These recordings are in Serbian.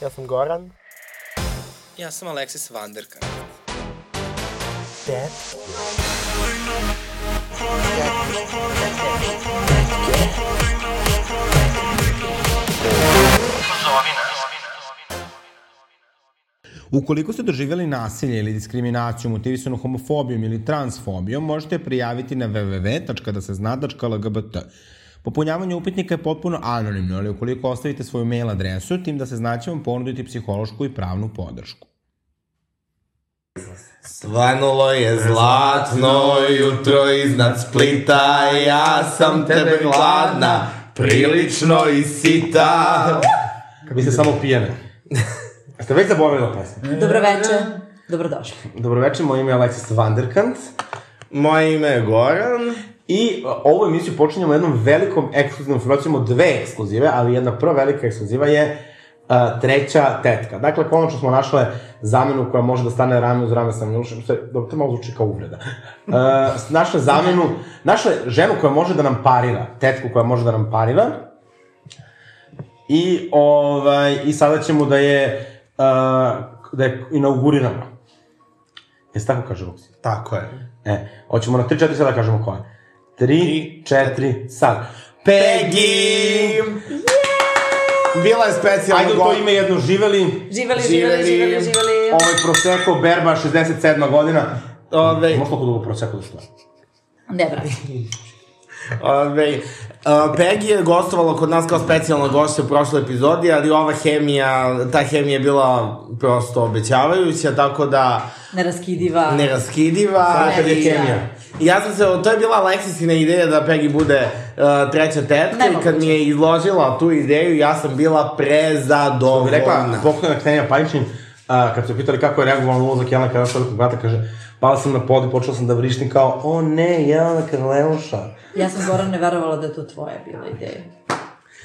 Ja sam Goran. Ja sam Alexis Vanderkamp. Dead. Ukoliko ste doživjeli nasilje ili diskriminaciju motivisanu homofobijom ili transfobijom, možete je prijaviti na www.dasezna.lgbt. Popunjavanje upitnika je potpuno anonimno, ali ukoliko ostavite svoju mail adresu, tim da se znaće vam ponuditi psihološku i pravnu podršku. Svanulo je zlatno jutro iznad Splita Ja sam tebe gladna, prilično i sita Vi ste samo pijene. Ste već zaboravili na pesmu. Dobroveče. Dobrodošli. Dobroveče, moje ime je Alexis Vanderkant Moje ime je Goran i a, ovu emisiju počinjemo jednom velikom ekskluzivnom informacijom, imamo dve ekskluzive, ali jedna prva velika ekskluziva je a, treća tetka. Dakle, konačno smo našle zamenu koja može da stane rame uz rame sa Milošem, sve, dobro, to malo zvuči kao uvreda. A, našle zamenu, našle ženu koja može da nam parira, tetku koja može da nam parira, i, ovaj, i sada ćemo da je, a, da je inauguriramo. Jesi tako kaže Vuksi? Tako je E, hoćemo na 3-4 sada da kažemo ko je. 3, 4, sad. Peggy! Bila je specijalna Ajde u to gost- ime jedno živeli. Živeli, živeli, živeli, živeli. Ovaj Prosecco Berba, 67. godina. Ove, Možda koliko dugo Prosecco da došlo? Ne brati. ove, a, Peggy je gostovala kod nas kao specijalna gošća u prošloj epizodi, ali ova hemija, ta hemija je bila prosto obećavajuća, tako da... Neraskidiva. neraskidiva. Samo kad je hemija. I Ja sam se, to je bila Alexisina ideja da Peggy bude uh, treća tetka i Nemoguće. kad mi je izložila tu ideju, ja sam bila Bi rekla prezadovoljna. pokojna Ksenija Pajićin, a, kad su je pitali kako je reagovala na ulazak Jelena Karleuša velikog brata, kaže, pala sam na pod i počela sam da vrištim kao, o ne, Jelena Karleuša. Ja sam Goran ne verovala da je to tvoja bila ideja.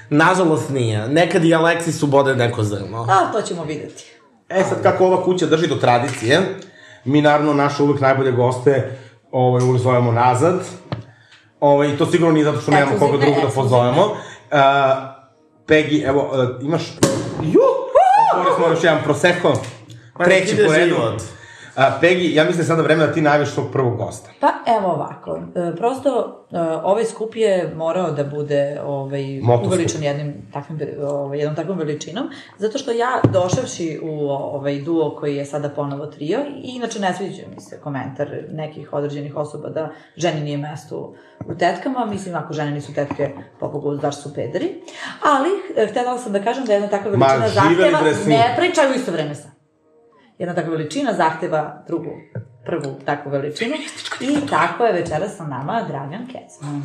Nažalost nije. Nekad i Alexis ubode neko zrno. A, to ćemo videti. E sad, kako ova kuća drži do tradicije, mi naravno naše uvek najbolje goste ovaj, uvek zovemo nazad. Ovaj, I to sigurno nije zato što nemamo koga Ekskluzivne, drugog da ekskluzivne. pozovemo. Uh, Peggy, evo, uh, imaš... Juhu! Otvorili smo još jedan Prosecco. Ma, Treći Pa ide po redu. život. Uh, Peggy, ja mislim da je sada vreme da ti najaveš svog prvog gosta. Pa, evo ovako. E, prosto, e, ovaj skup je morao da bude ovaj, Motoskup. uveličan jednim takvim, veli- ovaj, jednom takvom veličinom, zato što ja, došavši u ovaj duo koji je sada ponovo trio, i inače ne sviđa mi se komentar nekih određenih osoba da ženi nije mesto u tetkama, mislim, ako žene nisu tetke, popogu, daš su pederi, ali e, htela sam da kažem da jedna takva veličina živeli zahteva, bre svi. ne pričaj u isto vreme sam jedna takva veličina zahteva drugu, prvu takvu veličinu. I tako je večera sa nama Dragan Kecman.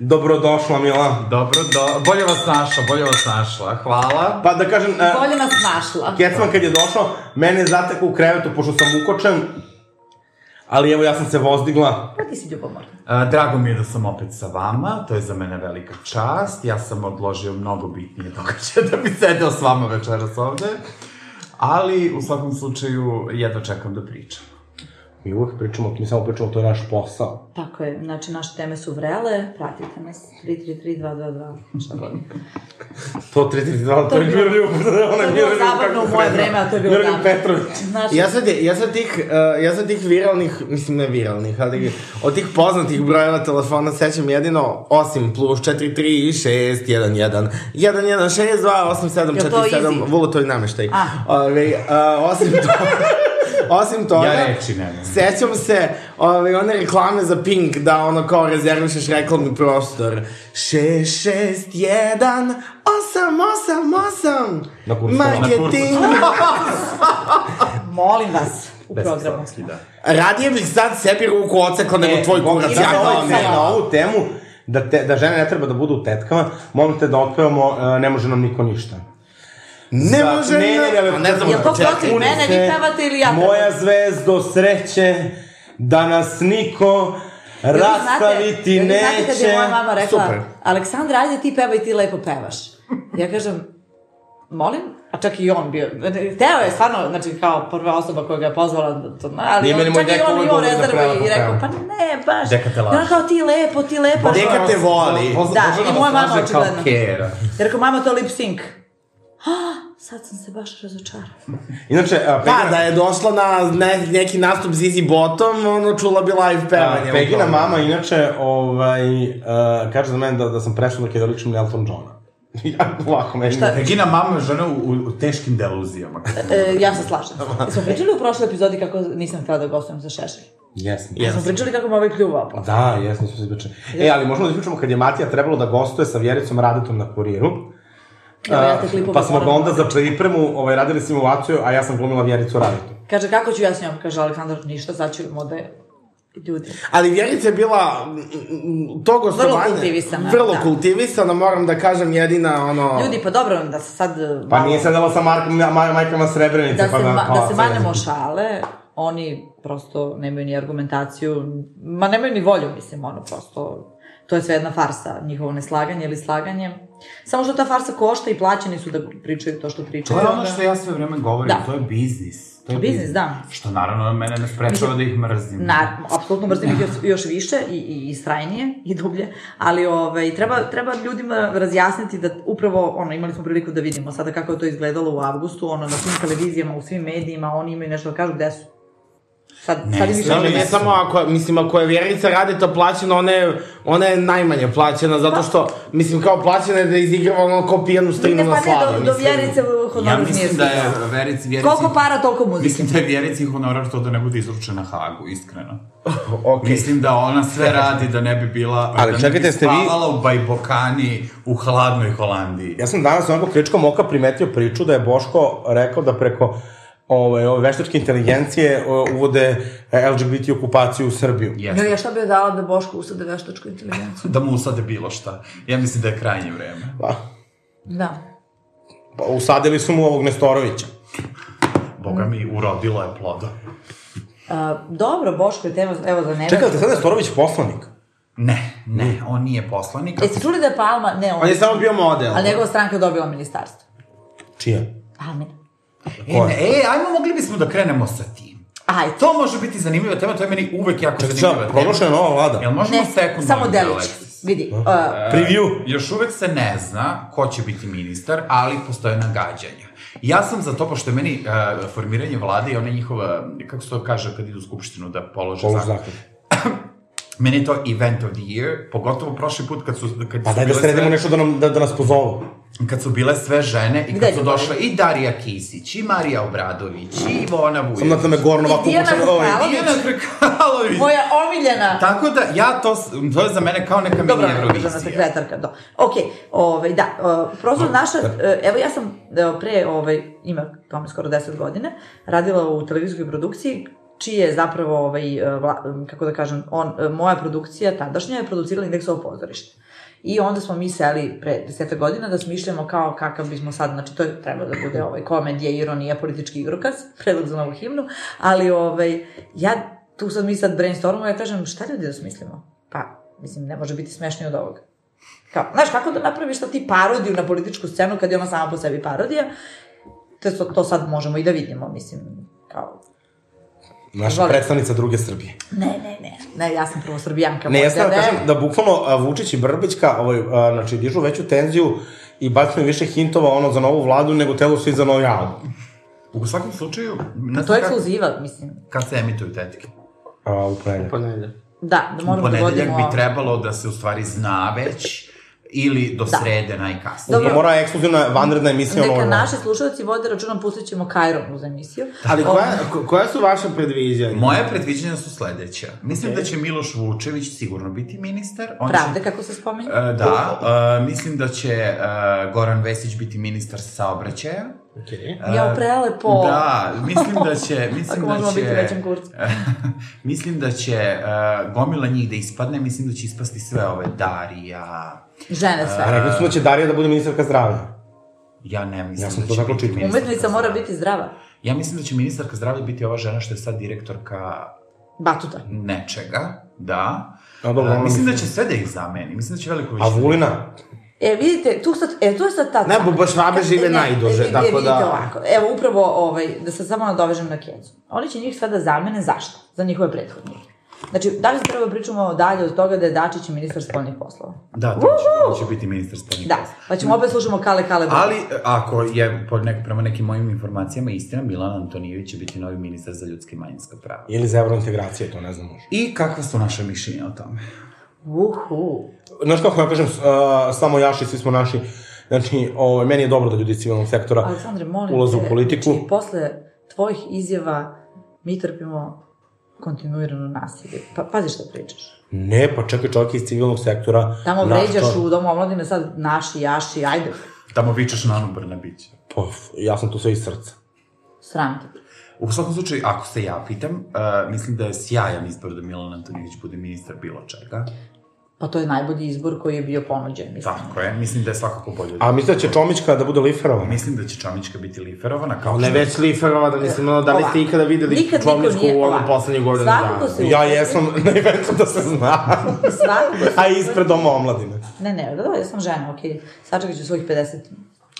Dobrodošla, Mila. Dobro, do... bolje vas našla, bolje vas našla, hvala. Pa da kažem, uh, Bolje nas našla. Kecman kad je došao, mene je zatekao u krevetu, pošto sam ukočen. Ali evo, ja sam se vozdigla. Pa ti si ljubomorna. E, Drago mi je da sam opet sa vama, to je za mene velika čast. Ja sam odložio mnogo bitnije događaje da bi sedeo s vama večeras ovde. Ali, u svakom slučaju, jedva čekam da pričam. Mi uvek pričamo, mi samo pričamo, to je naš posao. Tako je, znači naše teme su vrele, pratite nas, 333-222, šta god. To 332, to To je je bilo- Miroljub, To onaj je bilo Miroljub, zabavno kako u se moje zove? vreme, a to je bilo Miroljub zabavno. Petrović. Znači, Ja sad, je- ja sad tih, uh, ja sad tih viralnih, mislim ne viralnih, ali od tih poznatih brojeva telefona sećam jedino osim plus 43 i 6, 1, 1, 1, 1, 6, 2, 8, 7, Jel 4, to 7, easy? volu to i nameštaj. A. Ove, uh, osim toga, osim toga, Ja reči nemam. Sećam se ove, one reklame za Pink, da ono kao rezervišeš reklamni prostor. 6, 6, 1, 8, 8, 8. Na kursu. Marketing. molim vas u programu. da. Radije bih sad sebi ruku ocekla E, nego tvoj kurac. Ja Ja na, kao ovu, na ovu temu, da, te, da žene ne treba da budu u tetkama, molim te da otpevamo, e, ne može nam niko ništa. Ne Da, može... ne, ne, ne, A ne znam Jel to od početka. protiv mene, vi pevate ili ja pevam? Moja zvezdo sreće, da nas niko Jel vi rastaviti jel vi neće. Znate kad je moja mama rekla, Super. Aleksandra, ajde ti pevaj, ti lepo pevaš. Ja kažem, molim? A čak i on bio, teo je stvarno, znači kao prva osoba koja ga je pozvala, da to, ali Nije on, meni moj čak i deka on uvek i on govori da rezervo prelepo i rekao, peva. pa ne, baš. Deka te laže. Da, kao ti lepo, ti lepo. Deka te voli. Da, i moja mama očigledno. Kera. Ja rekao, mama, to je lip sync. "Ah, sad sam se baš razočarala. Inače, a, Pegina, Pa, da je došla na ne, neki nastup Zizi Botom, ono čula bi live pevanje. a, Pegina upravo. mama, inače, ovaj, a, kaže za mene da, da sam prešla da ličim na Elton Johna. ja, lako meni. Šta? Regina mama je žena u, u teškim deluzijama. E, ja se slažem. Smo pričali u prošloj epizodi kako nisam htjela da gostujem za šešelj. Jesmo. Smo pričali kako me ovaj pljuvao. po- Da, jesmo smo se pričali. E, ali možemo da ispričamo kad je Matija trebalo da gostuje sa Vjericom Radetom na kuriru. Evo, ja te A, klipove pa smo ga moram onda za pripremu ovaj, radili s njim u Aciju, a ja sam glumila Vjericu Radetu. Kaže, kako ću ja s njom? Kaže, Aleksandar, ništa, sad ću mode ljudi. Ali Vjerica je bila mm, mm, to gostovanje... kultivisana, Vrlo da. kultivisana, moram da kažem, jedina ono... Ljudi, pa dobro, da se sad... uh, Pa malo- nije se dala sa Markom, ma, majkama Srebrenice, da pa se, da... ma, da pa, se sad- manemo šale, oni prosto nemaju ni argumentaciju, ma nemaju ni volju, mislim, ono, prosto, to je sve jedna farsa, njihovo neslaganje ili slaganje. Samo što ta farsa košta i plaćeni su da pričaju to što To pričaju. je ono onda- što ja sve vreme govorim, Da. to je biznis. To je Biznis, da. Što naravno mene ne sprečava da ih mrzim. Na, apsolutno mrzim ih još, još više i, i, i strajnije i dublje, ali ovaj, treba, treba ljudima razjasniti da upravo, ono, imali smo priliku da vidimo sada kako je to izgledalo u avgustu, ono, na svim televizijama, u svim medijima, oni imaju nešto da kažu, gde su? Sad, Ne, sad je više znam, Ali ne ne Jesu. samo ako, mislim, ako je Vjerica radi to plaćeno, ona je, ona je najmanje plaćena, zato što, mislim, kao plaćena je da izigrava ono ko pijanu da strinu pa- Ne na slavu. padne do, do mislim. vjerice Ja honoris nije mislim da je stigao. Verici... Verici Koliko para, toliko muzike. Mislim da je Vjerici honorar to da ne bude izručena Hagu, iskreno. Okej. Mislim da ona sve radi da ne bi bila... Ali da čekajte, ne bi ste vi- spavala u Bajbokani u hladnoj Holandiji. Ja sam danas onako kričkom oka primetio priču da je Boško rekao da preko ove, ove veštačke inteligencije o, uvode e, LGBT okupaciju u Srbiju. Jeste. Ja, ja šta bi joj dala da Boško usade veštačku inteligenciju? Da mu usade bilo šta. Ja mislim da je krajnje vreme. Pa, Da. pa usadili su mu ovog Nestorovića. Boga mi, urodila je ploda. A, dobro, Boško je tema, evo za ne. Čekaj, da sad Nestorović poslanik? Ne, ne, on nije poslanik. Jeste čuli da je Palma, ne on, On je samo bio model. ali njegova stranka je dobila ministarstvo. Čija? Palmina. E, ne, e, ajmo, mogli bismo da krenemo sa tim. Aj, To može biti zanimljiva tema, to je meni uvek jako Čekaj, zanimljiva šta, tema. proglašena nova vlada? Jel možemo sekund, da samo molim te, delić. Aleksis? Vidi, uh, Preview? Još uvek se ne zna ko će biti ministar, ali postoje nagađanja. Ja sam za to, pošto je meni uh, formiranje vlade i ona njihova, kako se to kaže kad idu u skupštinu da polože Polož zakon. zakon. Meni je to event of the year, pogotovo prošli put kad su, kad Pa su daj da bile sredimo sve- nešto da, nam, da, da nas pozovu. kad su bile sve žene i Gde kad je su Ljubav? došle i Darija Kisić, i Marija Obradović, i Ivona Vujović. Sam da te me gorno ovako Dijana ukušam. Ovaj, Hrkalović. Dijana Hrkalović. moja omiljena... Tako da, ja to, s- to je za mene kao neka mini Dobro, državna Eurovizija. sekretarka, da. Ok, ovaj, da, uh, prosto naša, e, evo ja sam e, pre, ovaj, ima tome skoro 10 godina, radila u televizijskoj produkciji, čiji je zapravo, ovaj, e, vla, m, kako da kažem, on, e, moja produkcija tadašnja je producirala indeksovo pozorište. I onda smo mi seli pre deseta godina da smišljamo kao kakav bismo sad, znači to je treba da bude ovaj, komedija, ironija, politički igrokaz, predlog za novu himnu, ali ovaj, ja tu sad mi sad brainstormamo, ja kažem šta ljudi da smislimo? Pa, mislim, ne može biti smešnije od ovoga. Kao, znaš, kako da napraviš sad ti parodiju na političku scenu kad je ona sama po sebi parodija? To, so- to sad možemo i da vidimo, mislim, kao... naša Izvoli. predstavnica druge Srbije. Ne, ne, ne, ne, ja sam prvo srbijanka. Ne, moj ja sam dede. kažem da bukvalno a, Vučić i Brbićka, ovaj, a, znači, dižu veću tenziju i bacuju više hintova ono za novu vladu nego telo svi za novi album. U svakom slučaju, ne To je znam kad, ekskluziva, mislim. kad se emituju tetike. A, u ponedeljak. Pa ne, ne. Da, da U moramo da ponedeljak vodimo... bi trebalo da se u stvari zna već ili do Da. srede najkasnije. Dobro. Pa mora ekskluzivna vanredna emisija ono. Neka ono. naši slušalci vode računom, pustit ćemo Kajron uz emisiju. Da, Ali Ovaj, koja, ko- koja su vaše predviđanja? Moje predviđenja su sledeća. Mislim da će Miloš Vučević sigurno biti ministar. On Pravde, Će, kako se spominje. E, da, e, mislim da će e, Goran Vesić biti ministar saobraćaja. Okej. E, Jao, prelepo. Da, mislim da će... Mislim Ako da možemo će, biti u većem kurcu. mislim da će e, gomila njih da ispadne, mislim da će ispasti sve ove Darija... Žene A sve. rekli su da će Darija da bude ministarka zdravlja. Ja ne mislim Ja sam da to će tako biti čitao. ministarka Umetnica mora zdravlja. biti zdrava. Ja mislim da će ministarka zdravlja biti ova žena što je sad direktorka Batuta. nečega, da. A dobro, E, ona mislim mislim- da će sve da ih zameni. Mislim da će veliko A Vulina? E, vidite, tu sad, e, tu je sad ta... Ne, Buba Švabe žive Ne, najduže, e, tako vidite da- ovako, evo, da upravo, ovaj, da se samo nadovežem na Kecu. Oni će njih sada zamene zašto? Za njihove prethodnike. Znači, da li treba pričamo dalje od toga da je Dačić ministar spoljnih poslova? Da, to će, on će biti ministar spoljnih Da, poslova. pa ćemo opet slušamo Kale Kale Bog. Ali, e, ako je, po nek, prema nekim mojim informacijama, istina, Milan Antonijević će biti novi ministar za ljudske i manjinska prava. Ili za evrointegracije, to ne znam možda. I kakva su naša mišljenja o tome? Uhu. Znaš kako ja kažem, s- a, samo jaši, svi smo naši. Znači, o, meni je dobro da ljudi iz civilnog sektora Aleksandre, molim ulaze te, u politiku. Znači, posle tvojih izjava mi trpimo kontinuirano nasilje. Pa, pazi šta pričaš. Ne, pa čekaj, čovjek iz civilnog sektora... Tamo Da, naš vređaš čovjek- u domu omladine sad naši, jaši, ajde. Tamo vičeš na Anu Brnabić. Pa, ja sam tu sve iz srca. Sram te. U svakom slučaju, ako se ja pitam, uh, mislim da je sjajan izbor da Milan Antonijević bude ministar bilo čega. Pa to je najbolji izbor koji je bio ponuđen, mislim. Tako je, mislim da je svakako bolje. A mislim da će Čomićka da bude liferovan. Mislim da će Čomićka biti liferovana, kao Ona je već liferova, da mislim, ono, da li ste Ovako. ikada videli Nikad niko čovničku nije- u ovom ovako. poslednjih godinu dana? Svakako se Ja jesam, ne verujem da se zna. Svakako se A ispred doma omladine. Ne, ne, da, da, ja sam žena, okej, okay. sačekat ću svojih 50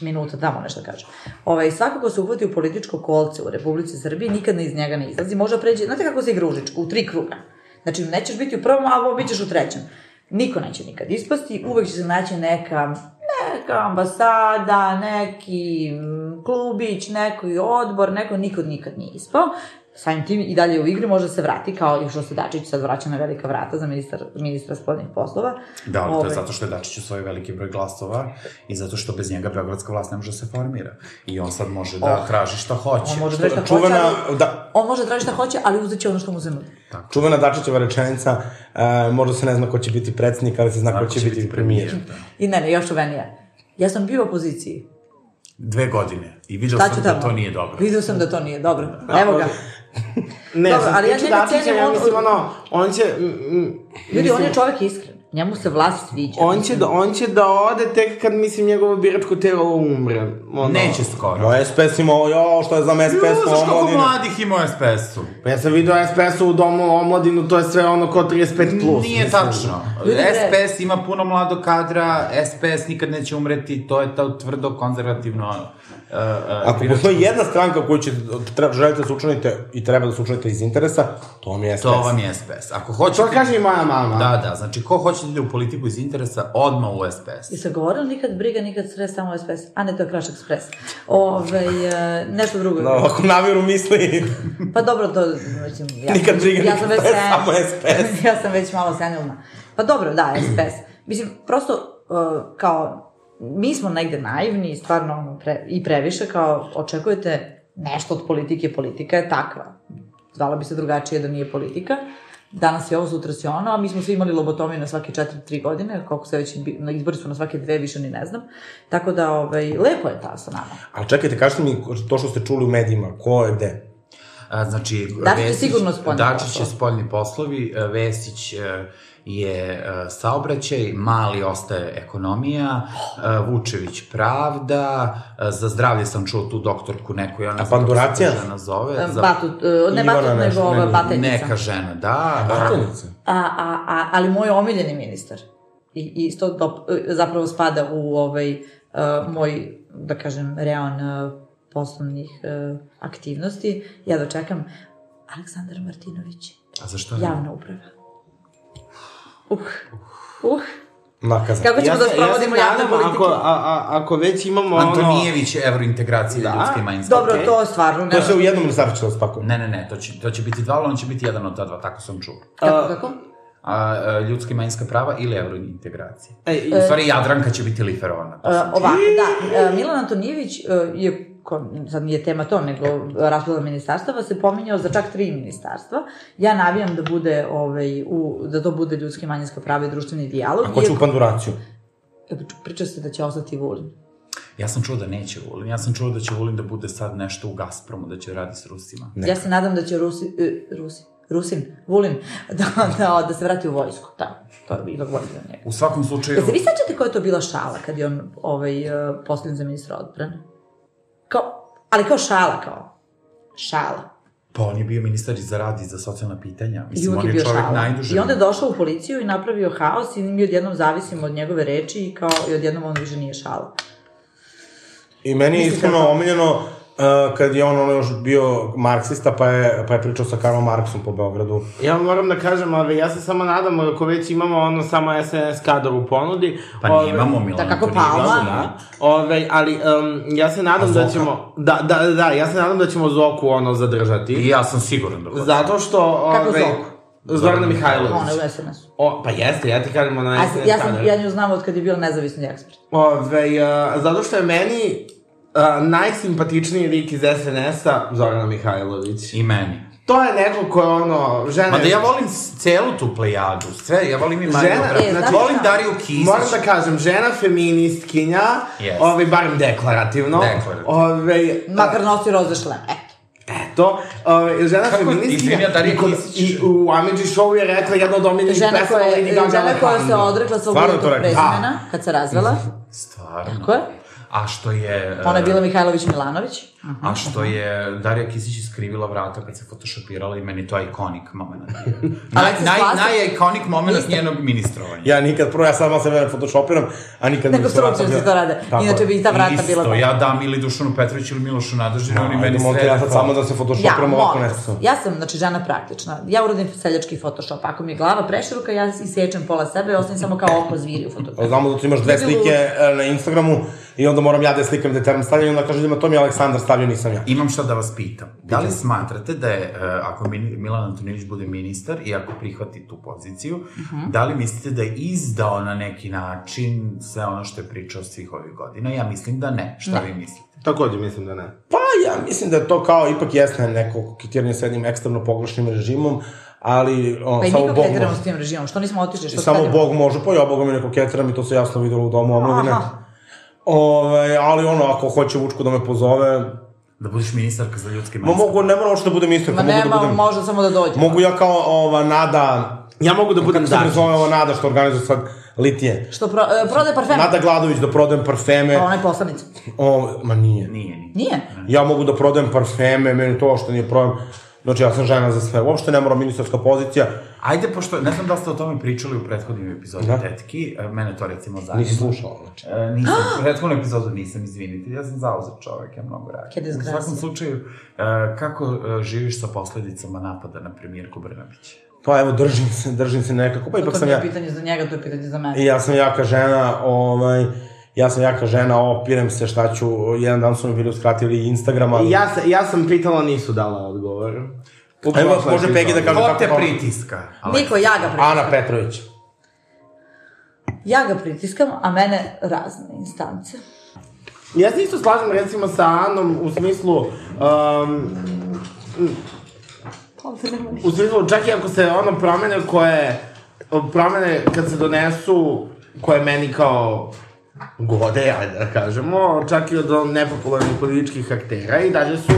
minuta, tamo nešto da kažem. Ovaj, svakako se uhvati u političko kolce u Republici Srbije, nikad ne iz njega ne izlazi, možda pređe, znate kako se igra u Užičku, u tri kruga. Znači, nećeš biti u prvom, a bit ćeš u trećem. Niko neće nikad ispasti, uvek će se naći neka, neka ambasada, neki mm, klubić, neko odbor, neko nikod nikad nije ispao samim tim i dalje je u igri, može se vrati, kao i što se Dačić sad vraća na velika vrata za ministar, ministra spodnih poslova. Da, ali to Ovaj. je zato što je Dačić osvojio veliki broj glasova i zato što bez njega beogradska vlast ne može da se formira. I on sad može da Oh. traži šta hoće. On može da traži šta hoće, Čuvena, ali, da, on može da traži šta hoće, ali uzet će ono što mu se nudi. čuvena Dačićeva rečenica, e, možda se ne zna ko će biti predsednik, ali se zna ko će biti premijer. Da. I ne, ne, još čuvenija. Ja sam bio u opoziciji. Dve godine. I vidio Šta sam ću da tamo? to nije dobro. Vidio sam da to nije dobro. Evo ga. Ne, Dobro, što se ali ja tiče njega Dačića, cenim, ja on- mislim, ono, on će... mm, mm, Ljudi, on mislim, je čovek iskren. Njemu se vlast sviđa. On će, da, on će da ode tek kad, mislim, njegovo biračko telo umre. Ono. Neće skoro. Moj SPS ima, jo, što je za me Ju, SPS znaš u kako omladine. mladih ima u SPS-u? Pa ja sam vidio SPS u domu omladinu, to je sve ono ko 35+. Plus, Nije mislim. tačno. da. Ljudi, bre. SPS ima puno mladog kadra, SPS nikad neće umreti, to je ta tvrdo konzervativno... Uh, Ako postoji jedna stranka koju će, treba, želite da se učlanite i treba da se učlanite iz interesa, to vam je SPS. To vam je SPS. Ako hoćete... To kaže i moja mama. Da, da, znači ko hoće da ide u politiku iz interesa, odmah u I SPS. se govorilo nikad briga, nikad stres, samo SPS. A ne, to je Crash Express. Ove, nešto drugo. Da, Ako naviru misli, Pa dobro, to, mislim, ja, Nikad briga, ja sam nikad već stres, sen- samo SPS. ja sam već malo senilna. Pa dobro, da, SPS. Mislim, prosto, uh, kao, mi smo negde naivni, i stvarno, ono, pre, i previše, kao, očekujete nešto od politike, politika je takva. Zvala bi se drugačije da nije politika. Danas je ovo, sutra si ono, a mi smo svi imali lobotomiju na svake 4-3 godine, koliko se već, bi- na izbori su na svake dve, više ni ne znam. Tako da, ovaj, lepo je ta sa nama. ali čekajte, kažete mi to što ste čuli u medijima, ko je gde? A, znači, Dačić je sigurno spoljni Dačić je poslovi. spoljni poslovi, e, Vesić e, je e, saobraćaj, Mali ostaje ekonomija, e, Vučević pravda, e, za zdravlje sam čuo tu doktorku neku, ja ne A znam kako se ta Panduracija? žena zove. za- Batut, e, ne Ivana batut, nego nešto, ne, ova ne, batajnica. Neka žena, da. Batanice. A, a, a, ali moj omiljeni ministar. I, i isto dop, zapravo spada u ovaj uh, moj, da kažem, reon uh, poslovnih uh, aktivnosti. Ja dočekam Aleksandar Martinović, A zašto ne? javna uprava. Uh, uh. Nakazan. Kako ćemo Ja da se- ja se sprovodimo javne nadam, politike? ako, a, a, ako već imamo ono... Antonijević, evrointegracije da. ljudske i manjinske. Dobro, prava. to stvarno ne. To se u jednom ministarstvu će da spakuje. Ne, ne, ne, to će, to će biti dva, ali on će biti jedan od ta dva, tako sam čuo. Kako, kako? a, a, ljudska i manjinska prava ili eurointegracije. E, i- U stvari, Jadranka će biti liferovana. E, ovako, da, e, Milan Antonijević e, je, ko, sad nije tema to, nego raspodala ministarstava, se pominjao za čak tri ministarstva. Ja navijam da bude, ovaj, u, da to bude ljudski i manjinska prava i društveni dijalog. Ako će u panduraciju. Priča se da će ostati Vulin. Ja sam čuo da neće Vulin. Ja sam čuo da će Vulin da bude sad nešto u Gazpromu, da će radi s Rusima. Ja se nadam da će Rusi, e, Rusi, Rusin, Vulin, da, da, da se vrati u vojsku. Da, to je bilo bolje za njega. U svakom slučaju... Jel se vi sećate koja je to bila šala kad je on ovaj, e, postavljen za ministra odbrane? Kao, ali kao šala, kao. Šala. Pa on je bio ministar i za rad i za socijalna pitanja. I Mislim, uvijek on je je bio čovjek šala. najduže. I onda je došao u policiju i napravio haos i mi odjednom zavisimo od njegove reči i kao i odjednom on više nije šala. I meni je iskreno omiljeno Uh, kad je on ono još bio marksista, pa je, pa je pričao sa Karlom Marksom po Beogradu. Ja moram da kažem, ove, ja se samo nadam, ako već imamo ono samo SNS kadar u ponudi, Pa ove, nemamo Milan da kako Antonijević, Palma. da. Ove, ali um, ja se nadam da ćemo... Da, da, da, da, ja se nadam da ćemo Zoku ono I zadržati. ja sam siguran da hoće. Zato što... Ove, Kako Zoku? Zorana Mihajlović. Ona je u SNS-u. O, pa jeste, ja ti kažem, ona je A, SNS ja, kadar. sam, ja nju znam od kad je bila nezavisni ekspert. Ove, a, zato što je meni a, najsimpatičniji lik iz SNS-a Zorana Mihajlović. I meni. To je neko ko je ono, žena... Ma da ja volim s- celu tu plejadu, sve, ja volim i Mariju Žena- Brad- E, znači, znate volim šta? Dariju Kisić. Moram da kažem, žena feministkinja, Yes. ove, barem deklarativno. ovaj, pa Deklarativno. Ove, Makar nosi roze šlem, eto. To, ove, žena Kako- feministkinja. izvini, a Darija i kod- Kisić? I u Amidži show je rekla jedna od omiljenih Žena pesama koja, Lady je, Gaga žena koja se Alejandro. odrekla svog Stvarno velikog to rekla? prezimena kad se razvela. Stvarno. Tako je. A što je... Ona je e, bila Mihajlović Milanović. A što je Darija Kisić iskrivila vrata kad se photoshopirala i meni to je iconic moment. Na, Aleksis naj, Vlasak? naj iconic moment Niste. njenog ministrovanja. Ja nikad, prvo ja sama sebe ne photoshopiram, a nikad Nego mi se vrata stručnjaci bila- to rade. Tako je. Inače bi i ta vrata Isto, bila... ja dam ili Dušanu Petroviću ili Milošu Nadeždinu, oni meni Ajde, molim te, srede ja sad hvala. samo da se Ja, photoshopiram ovako molim. nešto. Ja sam, znači, žena praktična. Ja uradim seljački photoshop. Ako mi je glava preširoka, ja isječem pola sebe i ostavim samo kao oko zviri u fotografiji. Znamo da tu imaš dve Bi bilo- slike e, na Instagramu i onda moram ja da je slikam da je termin stavljam i onda kaže ljudima to mi je Aleksandar stavio, nisam ja. Imam šta da vas pitam. Da li smatrate da je, e, ako Min- Milan Antonijević bude ministar i ako prihvati tu poziciju, Mhm. da li mislite da je izdao na neki način sve ono što je pričao svih ovih godina? Ja mislim da ne. Šta vi mislite? Takođe mislim da ne. Pa ja mislim da je to kao, ipak jeste neko koketiranje sa jednim ekstremno pogrešnim režimom, ali on, Pa i samo nikog Bog ne trebamo može. s tim režimom. Što nismo otišli? Što Samo sad- Bog može, pa ja Boga mi ne koketiram i to se jasno videlo u domu omladine. Aha. Ove, Ovaj, ali ono, ako hoće Vučko da me pozove, Da budeš ministarka za ljudske ma manjske? mogu, ne moram uopšte da budem istrka, Ma mogu da nema, budem... može samo da dođe. Mogu ja kao ova Nada, Ja mogu da budem kako se Dačić. prezove ova Nada što organizuje sad litije? Što pro, e, prode parfem? Nada Gladović da prodajem parfeme, Pa ona je poslanica. o, ma nije. Nije, nije. Nije. Ja mogu da prodajem parfeme, meni to uopšte nije problem. Znači, ja sam žena za sve. Uopšte ne mora ministarska pozicija. Ajde, pošto, ne znam da li ste o tome pričali u prethodnim epizodima, Da. tetki, e, mene to recimo zanima. Nisi slušala, znači. E, nisam, prethodnu epizodu nisam, izvinite, ja sam zauzet čovek, ja mnogo radim. Kje U disgrasija. svakom slučaju, e, kako e, živiš sa posledicama napada na premijerku Brnabić? Pa evo, držim se, držim se nekako. Pa Pa ipak to sam nije ja... pitanje za njega, to je pitanje za mene. I ja sam jaka žena, ovaj, ja sam jaka žena, opirem se šta ću, jedan dan su mi bili uskratili Instagrama. I Ja, se- ja sam pitala, nisu dala odgovor. U Evo, prošloj može Pegi da epizodi. kaže Ko kako te to- pritiska? Ale- Niko, ja ga pritiskam. Ana Petrović. Ja ga pritiskam, a mene razne instance. Ja se isto slažem recimo sa Anom u smislu um, Ovde nema ništa. u smislu čak i ako se ono promene koje promene kad se donesu koje meni kao gode, ajde da kažemo, čak i od nepopularnih političkih aktera i dalje su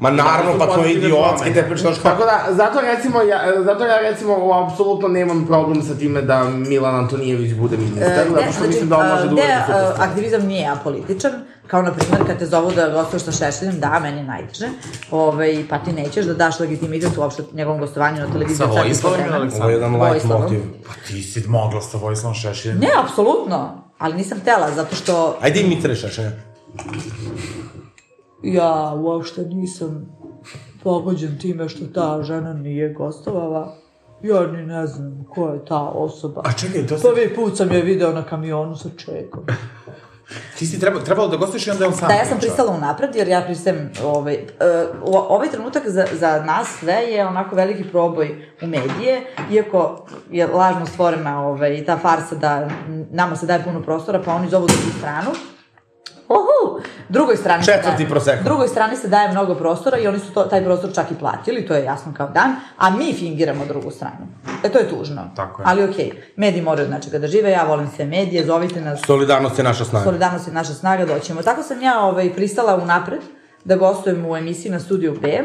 Ma naravno, pa to je idiotski, te pričaš kako... Tako da, zato recimo, ja, zato ja recimo apsolutno nemam problem sa time da Milan Antonijević bude ministar, E, zato što mislim da on može da gde, uradi super e, stvari. aktivizam nije apolitičan, kao na primer kad te zovu da gostuješ sa Šešeljem, da, meni je najteže, Ove, pa ti nećeš da daš legitimitet uopšte njegovom gostovanju na televiziji. Sa čak i po Vojislavom ili vremenu. Ovo je jedan light Aleksandrom? Vojislavom. motiv. Pa ti si mogla sa Vojislavom Šešiljem. Ne, apsolutno, ali nisam htela, zato što Ajde i Mitre Šešelja. ja uopšte nisam pogođen time što ta žena nije gostovala. Ja ni ne znam ko je ta osoba. A čekaj, to si, Prvi put sam je video na kamionu sa čekom. ti si trebalo, trebalo da gostuješ i onda je on sam Da, ja sam pričao. pristala unapred, jer ja pristajem, ovaj, e, u- ovaj trenutak za, za nas sve je onako veliki proboj u medije, iako je lažno stvorena ovaj, ta farsa da nama se daje puno prostora, pa oni zovu drugu stranu. Uhu! Drugoj strani se Četvrti daje, Prosecco. Drugoj strani se daje mnogo prostora i oni su to, taj prostor čak i platili, to je jasno kao dan, a mi fingiramo drugu stranu. E, to je tužno. Tako je. Ali okej, mediji moraju znači da žive, ja volim sve medije, zovite nas, Solidarnost je naša snaga. Solidarnost je naša snaga, doćemo. Tako sam ja ovaj, pristala unapred da gostujem u emisiji na studiju B,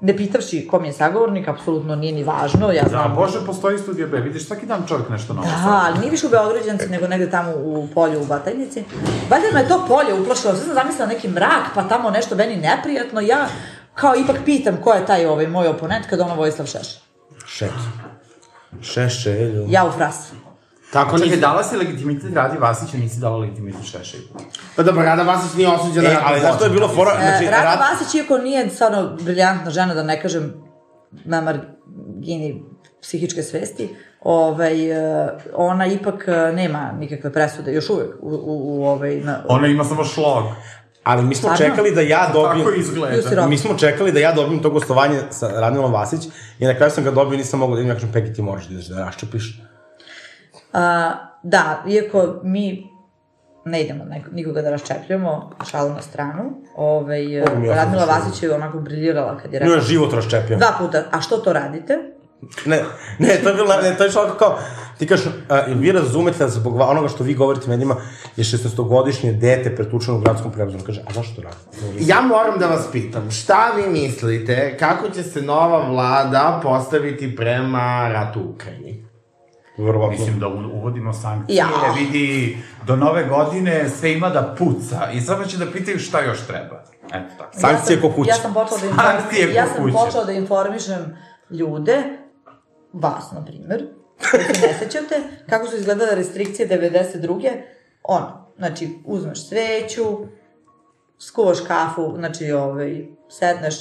ne pitavši kom je sagovornik, apsolutno nije ni važno, ja znam... Da, Bože, postoji studija B, vidiš, svaki dan čovjek nešto novo. Aha, ali nije više u Beograđanci, nego negde tamo u polju u Batajnici. Valjda me to polje uplašilo, sve sam zamislila neki mrak, pa tamo nešto meni neprijatno, ja kao ipak pitam ko je taj ovaj, moj oponent kad ono Vojislav Šešelj. Šet. Šešelju. Ja u frasu. Tako Čekaj, nisi... dala si legitimitet Radi Vasiću, nisi dala legitimitet Šešelju. Pa dobro, Rada Vasić nije osuđena. E, ratnom ali znaš što je bilo zločinu. fora? Znači, Znači, Rada rat, Vasić, iako nije stvarno briljantna žena, da ne kažem na margini psihičke svesti, ovaj, e, ona ipak e, nema nikakve presude, još uvek, u, u, u ovaj... Na, Ona ima samo šlog. ali mi smo Stvarno? čekali da ja dobijem... Tako izgleda. Ju, sirot. Mi smo čekali da ja dobijem to gostovanje sa Radmilom Vasić i na kraju sam ga dobio i nisam mogao da idem, ja kažem, Pegi, ti moraš da ideš da raščupiš. a, da, iako mi ne idemo neko, nikoga da raščepljamo, šalu na stranu, ovaj, e, Mogu mi ja sam Radmila mislila. Vasić je onako briljirala kad je Nju rekla. je život raščepio. Dva puta, a što to radite? Ne, ne, to je bilo, ne, to je šalako kao, ti kažeš, a, jel vi razumete da zbog va- onoga što vi govorite medijima je 16-godišnje dete pretučeno u gradskom prevozu. Ona Kaže, a zašto to radite? Ja moram da vas pitam, šta vi mislite kako će se nova vlada postaviti prema ratu u Ukrajini? Verovatno. Mislim da u- uvodimo sankcije, Ja. vidi, do nove godine sve ima da puca i samo će da pitaju šta još treba. Eto tako. Sa- Sankcije ja sam, ko kuća. Ja sam počela da, Sankcije inform, ko ja sam kuća. počela da informišem ljude, vas na primer, koji se ne sećate, kako su izgledale restrikcije 92. Ono, znači, uzmeš sveću, skuvaš kafu, znači, ovaj, sedneš,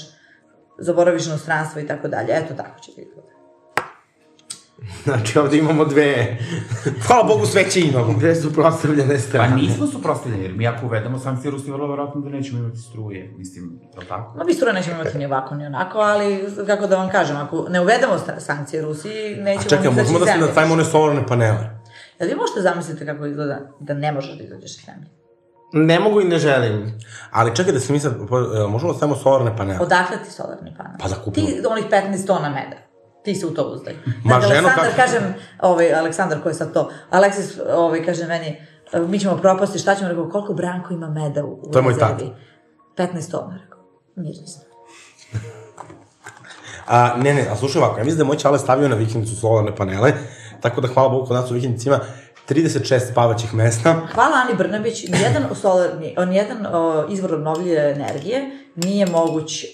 zaboraviš inostranstvo i tako dalje. Eto, tako će da izgleda. Znači, ovde imamo dve, Hvala Bogu, sve će imamo. dve suprostavljene Pa strane. nismo suprostavljeni, jer mi ako uvedemo sankcije, Rusi vrlo verovatno da nećemo imati struje, mislim, je li tako? No, mi struje nećemo imati ni ovako, ni onako, ali, kako da vam kažem, ako ne uvedemo sta- sankcije Rusiji, nećemo A čekaj, izaći iz možemo da se zemlje. nastavimo one solarne panele. Jel vi možete zamisliti kako izgleda da ne možeš da izađeš iz zemlje? Ne mogu i ne želim. Ali čekaj da se mi sad, pa, e, možemo da stavimo solarne panele? Odakle ti solarni panel? Pa da kupim. Ti onih 15 tona meda. Ti se u to uzdaj. Ma, Znači, ženo, kako- Aleksandar, kažem, ovaj, Aleksandar, ko je sad to? Aleksis, ovaj, kaže meni, mi ćemo propasti, šta ćemo? Rekao, koliko Branko ima meda u, u To je moj rezervi? 15 tona, rekao. Mirni smo. A, ne, ne, a slušaj ovako, ja mislim da je moj čale stavio na vikendicu solarne panele, tako da hvala Bogu kod nas u vikendicima 36 spavaćih mesta. Hvala Ani Brnabić, nijedan solarni, o, nijedan o, izvor obnovljive energije nije moguć e,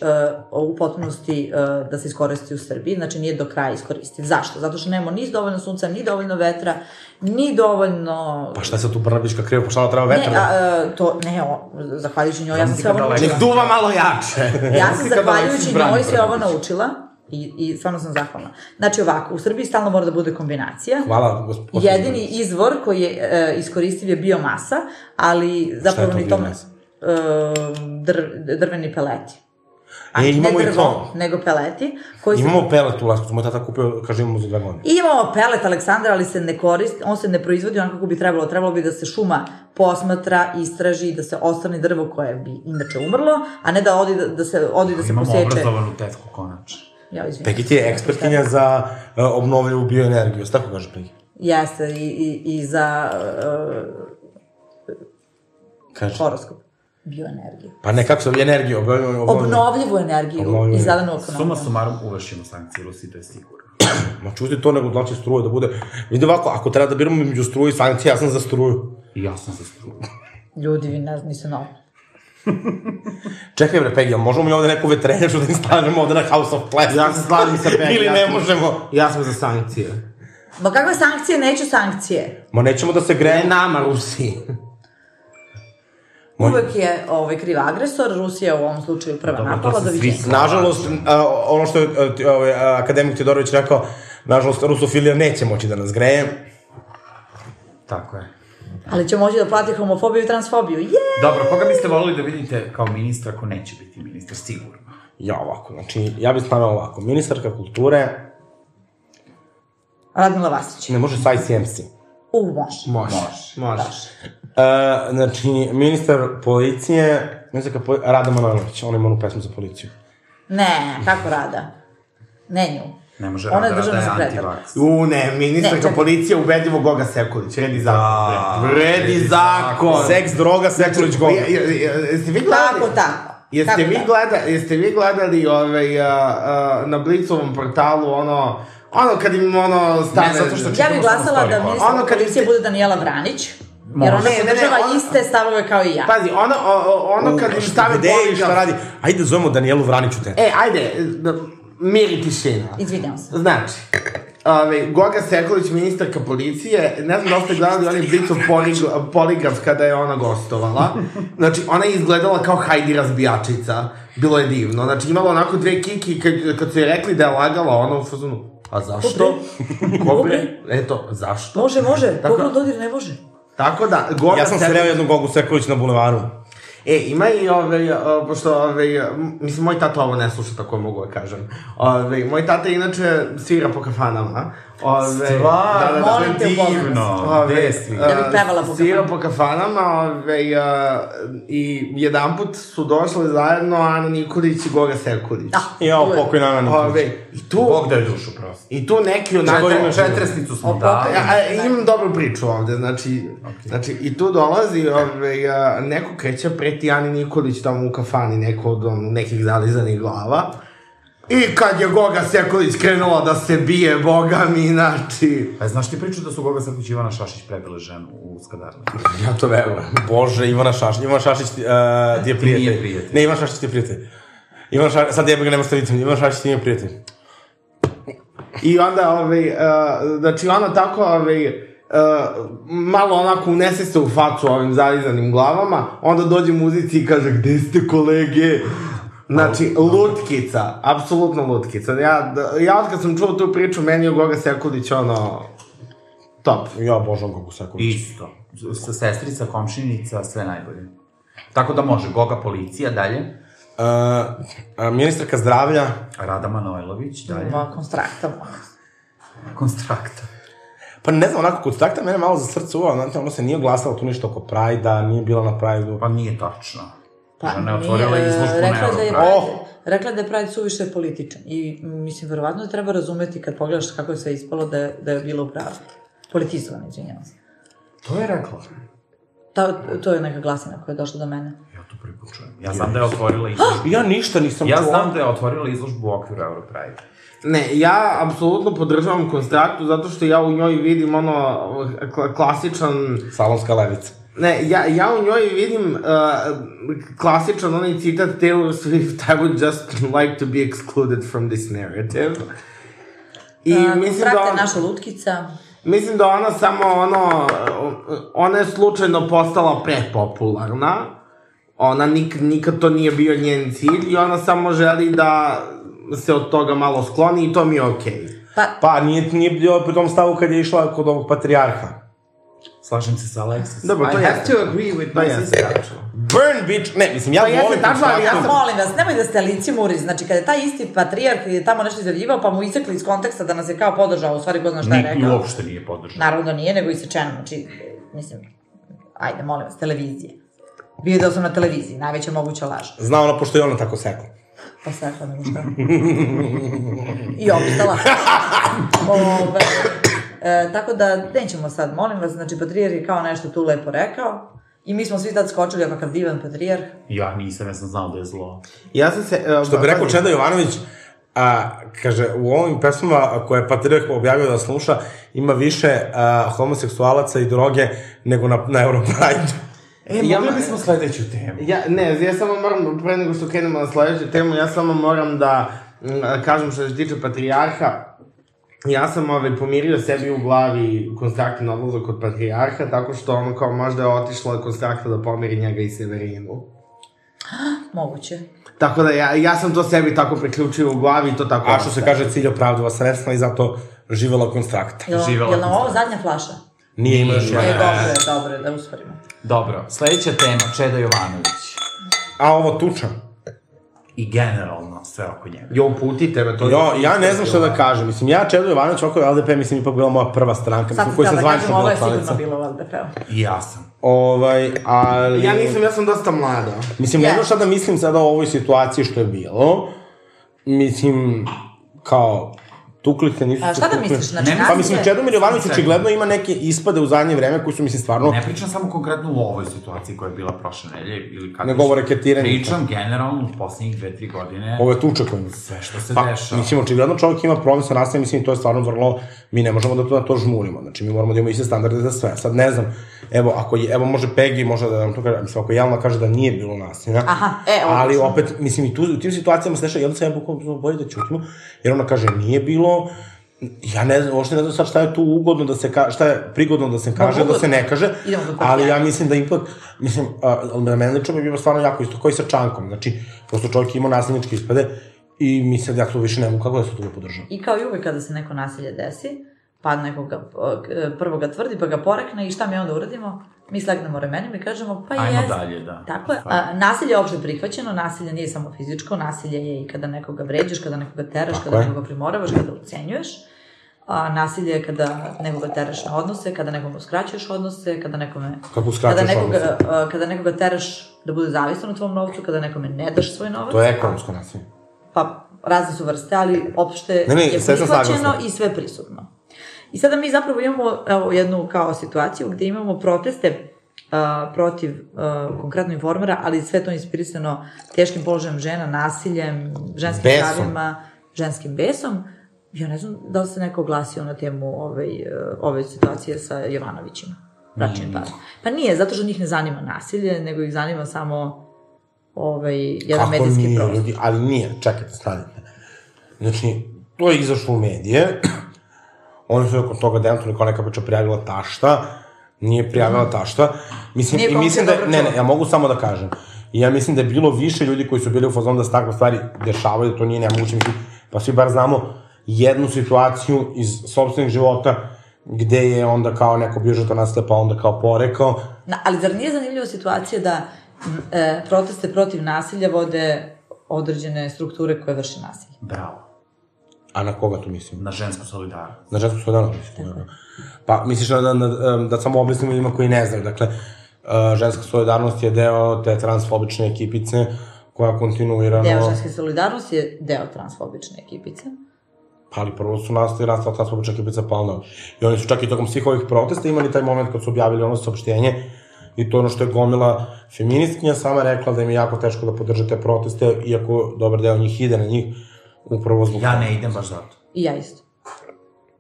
u potpunosti e, da se iskoristi u Srbiji, znači nije do kraja iskoristiv. Zašto? Zato što nemamo ni dovoljno sunca, ni dovoljno vetra, ni dovoljno... Pa šta je sad tu Brnabićka kriva, pa šta ona treba vetra? Ne, Ne, a, e, to, ne, o, zahvaljujući njoj, ja sam si sve ovo kadaleka. naučila. Nek duva malo jače. Ja sam si kadaleka, zahvaljujući si brani njoj sve prvo. ovo naučila i, i stvarno sam zahvalna. Znači ovako, u Srbiji stalno mora da bude kombinacija. Hvala, gospodin. Jedini izvor koji je e, iskoristiv je biomasa, ali zapravo to ni tom e, biomasa? dr, drveni peleti. E, imamo ne i drvo, to. nego peleti. Koji se Imamo pelet u Laskovcu, moj tata kupio, kaže imamo za dva godine. I imamo pelet Aleksandra, ali se ne koristi, on se ne proizvodi onako kako bi trebalo. Trebalo bi da se šuma posmatra, istraži, da se ostane drvo koje bi inače umrlo, a ne da odi da, da se, odi da se Imamo poseče. obrazovanu tetku konačno. Ja, izvinim. Peki ti je ekspertinja za e, obnovljivu bioenergiju, jesi tako kaže Peki? Jeste, i, i, i za uh, Kaže. e, horoskop. Bioenergiju. Pa ne, kako se energiju, obnovljivu, obnovljivu. Obnovljivu energiju Obnovljivu i energiju. zelenu ekonomiju. Suma sumarom uvešimo sankcije Rusi, to je sigurno. Ma čuti to nego dlači struje da bude. Vidi ovako, ako treba da biramo među struju i sankcije, ja sam za struju. I ja sam se struo. Ljudi, vi ne niste novi. Čekaj bre, Pegi, jel možemo mi ovde neku vetrenjaču da im stavimo ovde na House of Class? Ja se slažem sa Pegi. Ili ja ne sam- možemo? Ja sam za sankcije. Ma kakve sankcije? Neću sankcije. Ma nećemo da se Ne grejemo. nama, Rusi. Moj- Uvek je ovaj, kriv agresor, Rusija je u ovom slučaju prva Dobro, to napala, se da svi vidim. slažu. Nažalost, a, ono što je a, ti- ovaj, a, akademik Todorović rekao, nažalost, rusofilija neće moći da nas greje. Tako je. Ali će moći da plati homofobiju i transfobiju. Je! Dobro, koga biste volili da vidite kao ministra ako neće biti ministar, sigurno? Ja ovako, znači, ja bih stavio ovako. Ministarka kulture Radmila Vasić. ne može sa ICMC. U, može. Može. Može. Može. E, znači, ministar policije, ministarka poli... Rada Manojlović, on ima onu pesmu za policiju. Ne, kako rada? Ne nju. Ne može Ona je Rada, Rada državna je sekretar. antivaks. U, ne, Ne, ministarka čekaj. policije ubedljivo Goga Sekulić. Vredi zakon. Da, bre. vredi vredi zakon. Seks, droga, sekulić, govor. Je- je- je- Jeste vi gledali? Tako, tako. Jeste Kako vi, tako? da. gleda, jeste vi gledali ovaj, a, a, na Blicovom portalu ono, ono kad im ono stane... Ne, zato što Ja čitamo bih samo glasala story da horror. ministar Ono kad policije ste- bude Danijela Vranić, jer Može. ona Ne, ne, ne, podržava ona- Pa- iste stavove kao i ja. Pazi, ono, o, o, ono Pa kad im stave Gde je i poligraf- šta radi? Ajde, zovemo Danijelu Vranić u te. E, ajde, da- mir i tišina. Izvinjam se. Znači, Ove, Goga Sekulić, ministarka policije, ne znam da li ste gledali onaj Blicov polig- poligraf kada je ona gostovala. Znači, ona je izgledala kao Heidi razbijačica. Bilo je divno. Znači, imala onako dve kiki kad, kad su joj rekli da je lagala, ona u fazonu, a zašto? Ko bre? Eto, zašto? Može, može. Tako- Pogled dodir ne može. Tako da, Goga Ja sam Sekulić- sreo jednu Gogu Sekulić na bulevaru. E, ima i ove, o, pošto, ove, m, mislim, moj tata ovo ne sluša, tako mogu da kažem. Ove, moj tata inače svira po kafanama. Ovaj, Ove, Stvarno, da, molim te, divno. Gde je e, svi? Ja bih pevala po Svira kafanama. po kafanama, ove, a, i jedanput su došle zajedno Ana Nikolić i Goga Sekulić. Da. Jao, pokoj na Ana Nikolić. Ove, i tu, Bog da je dušu prosto. i tu neki onako... Četiri, Da. četresnicu smo Opa, dali. Ja, Da. a, imam dobru priču ovde, znači, okay. znači i tu dolazi ovaj, a, neko kreće preti Ani Nikolić tamo u kafani, neko od on, nekih zalizanih glava. I kad je Goga Sekulić krenula da se bije, boga mi, znači... Pa znaš ti priču da su Goga Srpić i Ivana Šašić prebile ženu u Skadarnu? Ja to verujem. Bože, Ivana Šašić, Ivan Šašić ti, uh, ti je prijatelj. nije prijatelj. Ne, Ivan Šašić ti je prijatelj. Ivan Šašić, sad jebe ga, nema šta vidim, Ivan Šašić ti nije prijatelj. I onda, ovaj, uh, znači, ona tako, ovaj, Uh, malo onako unese se u facu ovim zalizanim glavama, onda dođe muzici i kaže, gde ste kolege? Znači, lutkica, apsolutno lutkica. Ja, da- ja od kad sam čuo tu priču, meni je Goga Sekulić, ono, top. Ja obožavam Gogu Sekulić. Isto. Sa sestrica, komšinica, sve najbolje. Tako da može, Goga policija, dalje. Uh, a e, ministarka zdravlja, Rada Manojlović, dalje. Ova konstrakta moja. Konstrakta. pa ne znam, onako, kod takta mene malo za srce uvao, znate, ono se nije glasalo tu ništa oko Prajda, nije bila na Prajdu. Pa nije tačno. Pa, Žena je otvorila nije, izložbu na rekla da je, Europride. Oh! Pride- rekla da je Pride suviše političan. I, m, mislim, verovatno da treba razumeti kad pogledaš kako je sve ispalo da je, da je bilo u pravu. Politizovan, izvinjavam se. To je rekla. Ta, to je neka glasina koja je došla do mene. Ja to pripučujem. Ja znam da je otvorila izložbu. Ja ništa nisam Ja čuo. znam da je otvorila izložbu u okviru Europride. Ne, ja apsolutno podržavam konstraktu zato što ja u njoj vidim ono kla- klasičan Salonska levica. Ne, ja, ja u njoj vidim uh, klasičan onaj citat Taylor Swift, I would just like to be excluded from this narrative. I mislim, A, da konstrakta je on, naša lutkica. mislim da ona samo ono, ona je slučajno postala prepopularna, ona nik, nikad to nije bio njen cilj i ona samo želi da se od toga malo skloni i to mi je okej. Pa, Pa, nije, nije bio pri tom stavu kad je išla kod ovog patrijarha. Slažem se sa Alexis. Dobro, to I have jeste. to agree with To my jeste sister. tačno. Burn, bitch! Ne, mislim, ja Pa jeste volim tačno, ali ja konstraktu. sam- molim vas, nemoj da ste Alici Muri. Znači, kada je taj isti patrijarh je tamo nešto izjavljivao, pa mu isekli iz konteksta da nas je kao podržao, u stvari ko zna šta je Nikli rekao. uopšte nije podržao. Naravno da nije, nego isečeno. Znači, mislim, ajde, molim vas, televizije. Video sam na televiziji, najveća moguća laž. Zna ona, pošto je ona tako sekla. Pa sekla nego šta. I opstala. Ove, e, tako da, nećemo sad, molim vas, znači, patrijarh je kao nešto tu lepo rekao. I mi smo svi tad skočili, a kakav divan patrijarh. Ja nisam, ja sam znao da je zlo. Ja sam se... Uh, Da, Što bi rekao Čeda Jovanović, a, kaže, u ovim pesmama koje je Patriarh objavio da sluša, ima više a, homoseksualaca i droge nego na, na Europride. E, Ja- mogli bismo sledeću temu. Ja, ne, ja samo moram, pre nego što krenemo na sledeću temu, ja samo moram da mm, kažem što se tiče patrijarha, ja sam ovaj, pomirio sebi u glavi konstraktan odlazak od patrijarha, tako što ono kao možda je otišla konstrakta da pomiri njega i Severinu. Moguće. Tako da ja, ja sam to sebi tako priključio u glavi i to tako... A što se Da. ostaje. kaže, cilj opravdava sredstva i zato živela konstrakta. Jel, Živela jel nam sam ovo zadnja flaša? Nije ima još E, jedna. dobro je, dobro je, da usporimo. Dobro, sledeća tema, Čeda Jovanović. A ovo tuča. I generalno sve oko njega. Jo, putite me, to Jo, ja ne znam šta da kažem. Mislim, ja Čedo Jovanović, oko je LDP, mislim, ipak bila moja prva stranka. Sad Mislim, sam koji sam htjela da zvanično kažem, ovo bila je sigurno članica. bilo LDP-o. I ja sam. Ovaj, ali... Ja nisam, ja sam dosta mlada. Mislim, ne Ja. znam šta da mislim sada o ovoj situaciji što je bilo. Mislim, kao, tukli se, nisu A se šta da tukli. misliš? Znači, Ne, nas Pa je- mislim, Čedomir Jovanović Sve. očigledno ima neke ispade u zadnje vreme koji su, mislim, stvarno... Ne pričam samo konkretno u ovoj situaciji koja je bila prošle nedelje ili kada... Ne govore ketiranje. Pričam generalno u poslednjih dve, tri godine. Ovo je tuča koja ima. Sve što se Pa, dešava. mislim, očigledno čovjek ima problem sa nastavim, mislim, to je stvarno vrlo, mi ne možemo da to, da to žmurimo, znači mi moramo da imamo iste standarde za sve. Sad ne znam, evo, ako je, evo može Peggy, može da nam to kaže, mislim, ako Jelena kaže da nije bilo nasilja, Aha, e, odlično. ali opet, mislim, i tu, u tim situacijama se nešto, i onda sam ja bukvalno bilo bolje da ćutimo, jer ona kaže nije bilo, Ja ne znam, uopšte ne znam sad šta je tu ugodno da se ka, šta je prigodno da se kaže, da ugodno. se ne kaže, Idemo do ali ja papijaka. mislim da ipak, mislim, a, ali na mene lično bi bilo stvarno jako isto, koji sa Čankom, znači, prosto čovjek ima nasilničke ispade i mislim da ja to više ne mogu kako da se toga podržam. I kao i uvek kada se neko nasilje desi, pa nekoga, e, prvo ga tvrdi, pa ga porekne i šta mi onda uradimo? Mi slegnemo ramenima i kažemo, pa Ajmo jest. dalje, da. Tako je. A, nasilje je opšte prihvaćeno, nasilje nije samo fizičko, nasilje je i kada nekoga vređaš, kada nekoga teraš, Tako kada je. nekoga primoravaš, kada ucenjuješ. A, nasilje je kada nekoga teraš na odnose, kada nekom uskraćuješ odnose, kada nekome Kako Kada uskraćaš nekoga, odnose? a, kada nekoga teraš da bude zavisan u tvom novcu, kada nekome ne daš svoj novac, To je ekonomsko nasilje. pa razne su vrste, ali opšte Ne, ne, je sve sam prihvaćeno saglasan. i sve prisutno. I sada mi zapravo imamo evo, jednu kao situaciju gde imamo proteste a, protiv a, konkretno informera, ali sve to inspirisano teškim položajem žena, nasiljem, ženskim Besom. pravima, ženskim besom. Ja ne znam da li se neko oglasio na temu ove, ove situacije sa Jovanovićima. Bračnim parom. Pa nije, zato što njih ne zanima nasilje, nego ih zanima samo ovaj, jedan Kako medijski nije, prostor. ljudi, ali nije, čekajte, stanite. Znači, to je izašlo u medije, oni su nakon toga demantovali kao neka priča prijavila tašta, nije prijavila tašta, mislim, Mhm. Nije i mislim da, komšija dobro ne, ne, čula. ja mogu samo da kažem, I ja mislim da je bilo više ljudi koji su bili u fazonu da se takve stvari dešavaju, da to nije nemoguće, mislim, pa svi bar znamo jednu situaciju iz sobstvenih života gde je onda kao neko bio žrtva nasilja pa onda kao porekao, Na, ali zar nije zanimljiva situacija da m, e, proteste protiv nasilja vode određene strukture koje vrše nasilje? Bravo. a na koga tu mislim? Na žensku solidarnost. Na ženskom solidarnom mislim. Da. Pa misliš da, da, da, da samo objasnimo ljudima koji ne znaju. Dakle, uh, ženska solidarnost je deo te transfobične ekipice koja Deo kontinuirano... ženske solidarnosti je deo transfobične ekipice. Pa ali prvo su nastali nastala transfobična ekipica Palna. I oni su čak i tokom svih ovih protesta imali taj moment kad su objavili ono saopštenje i to je ono što je gomila feministkinja sama rekla da im je jako teško da podrže te proteste, iako dobar deo njih ide na njih upravo zbog Ja ne idem baš zato. I ja isto.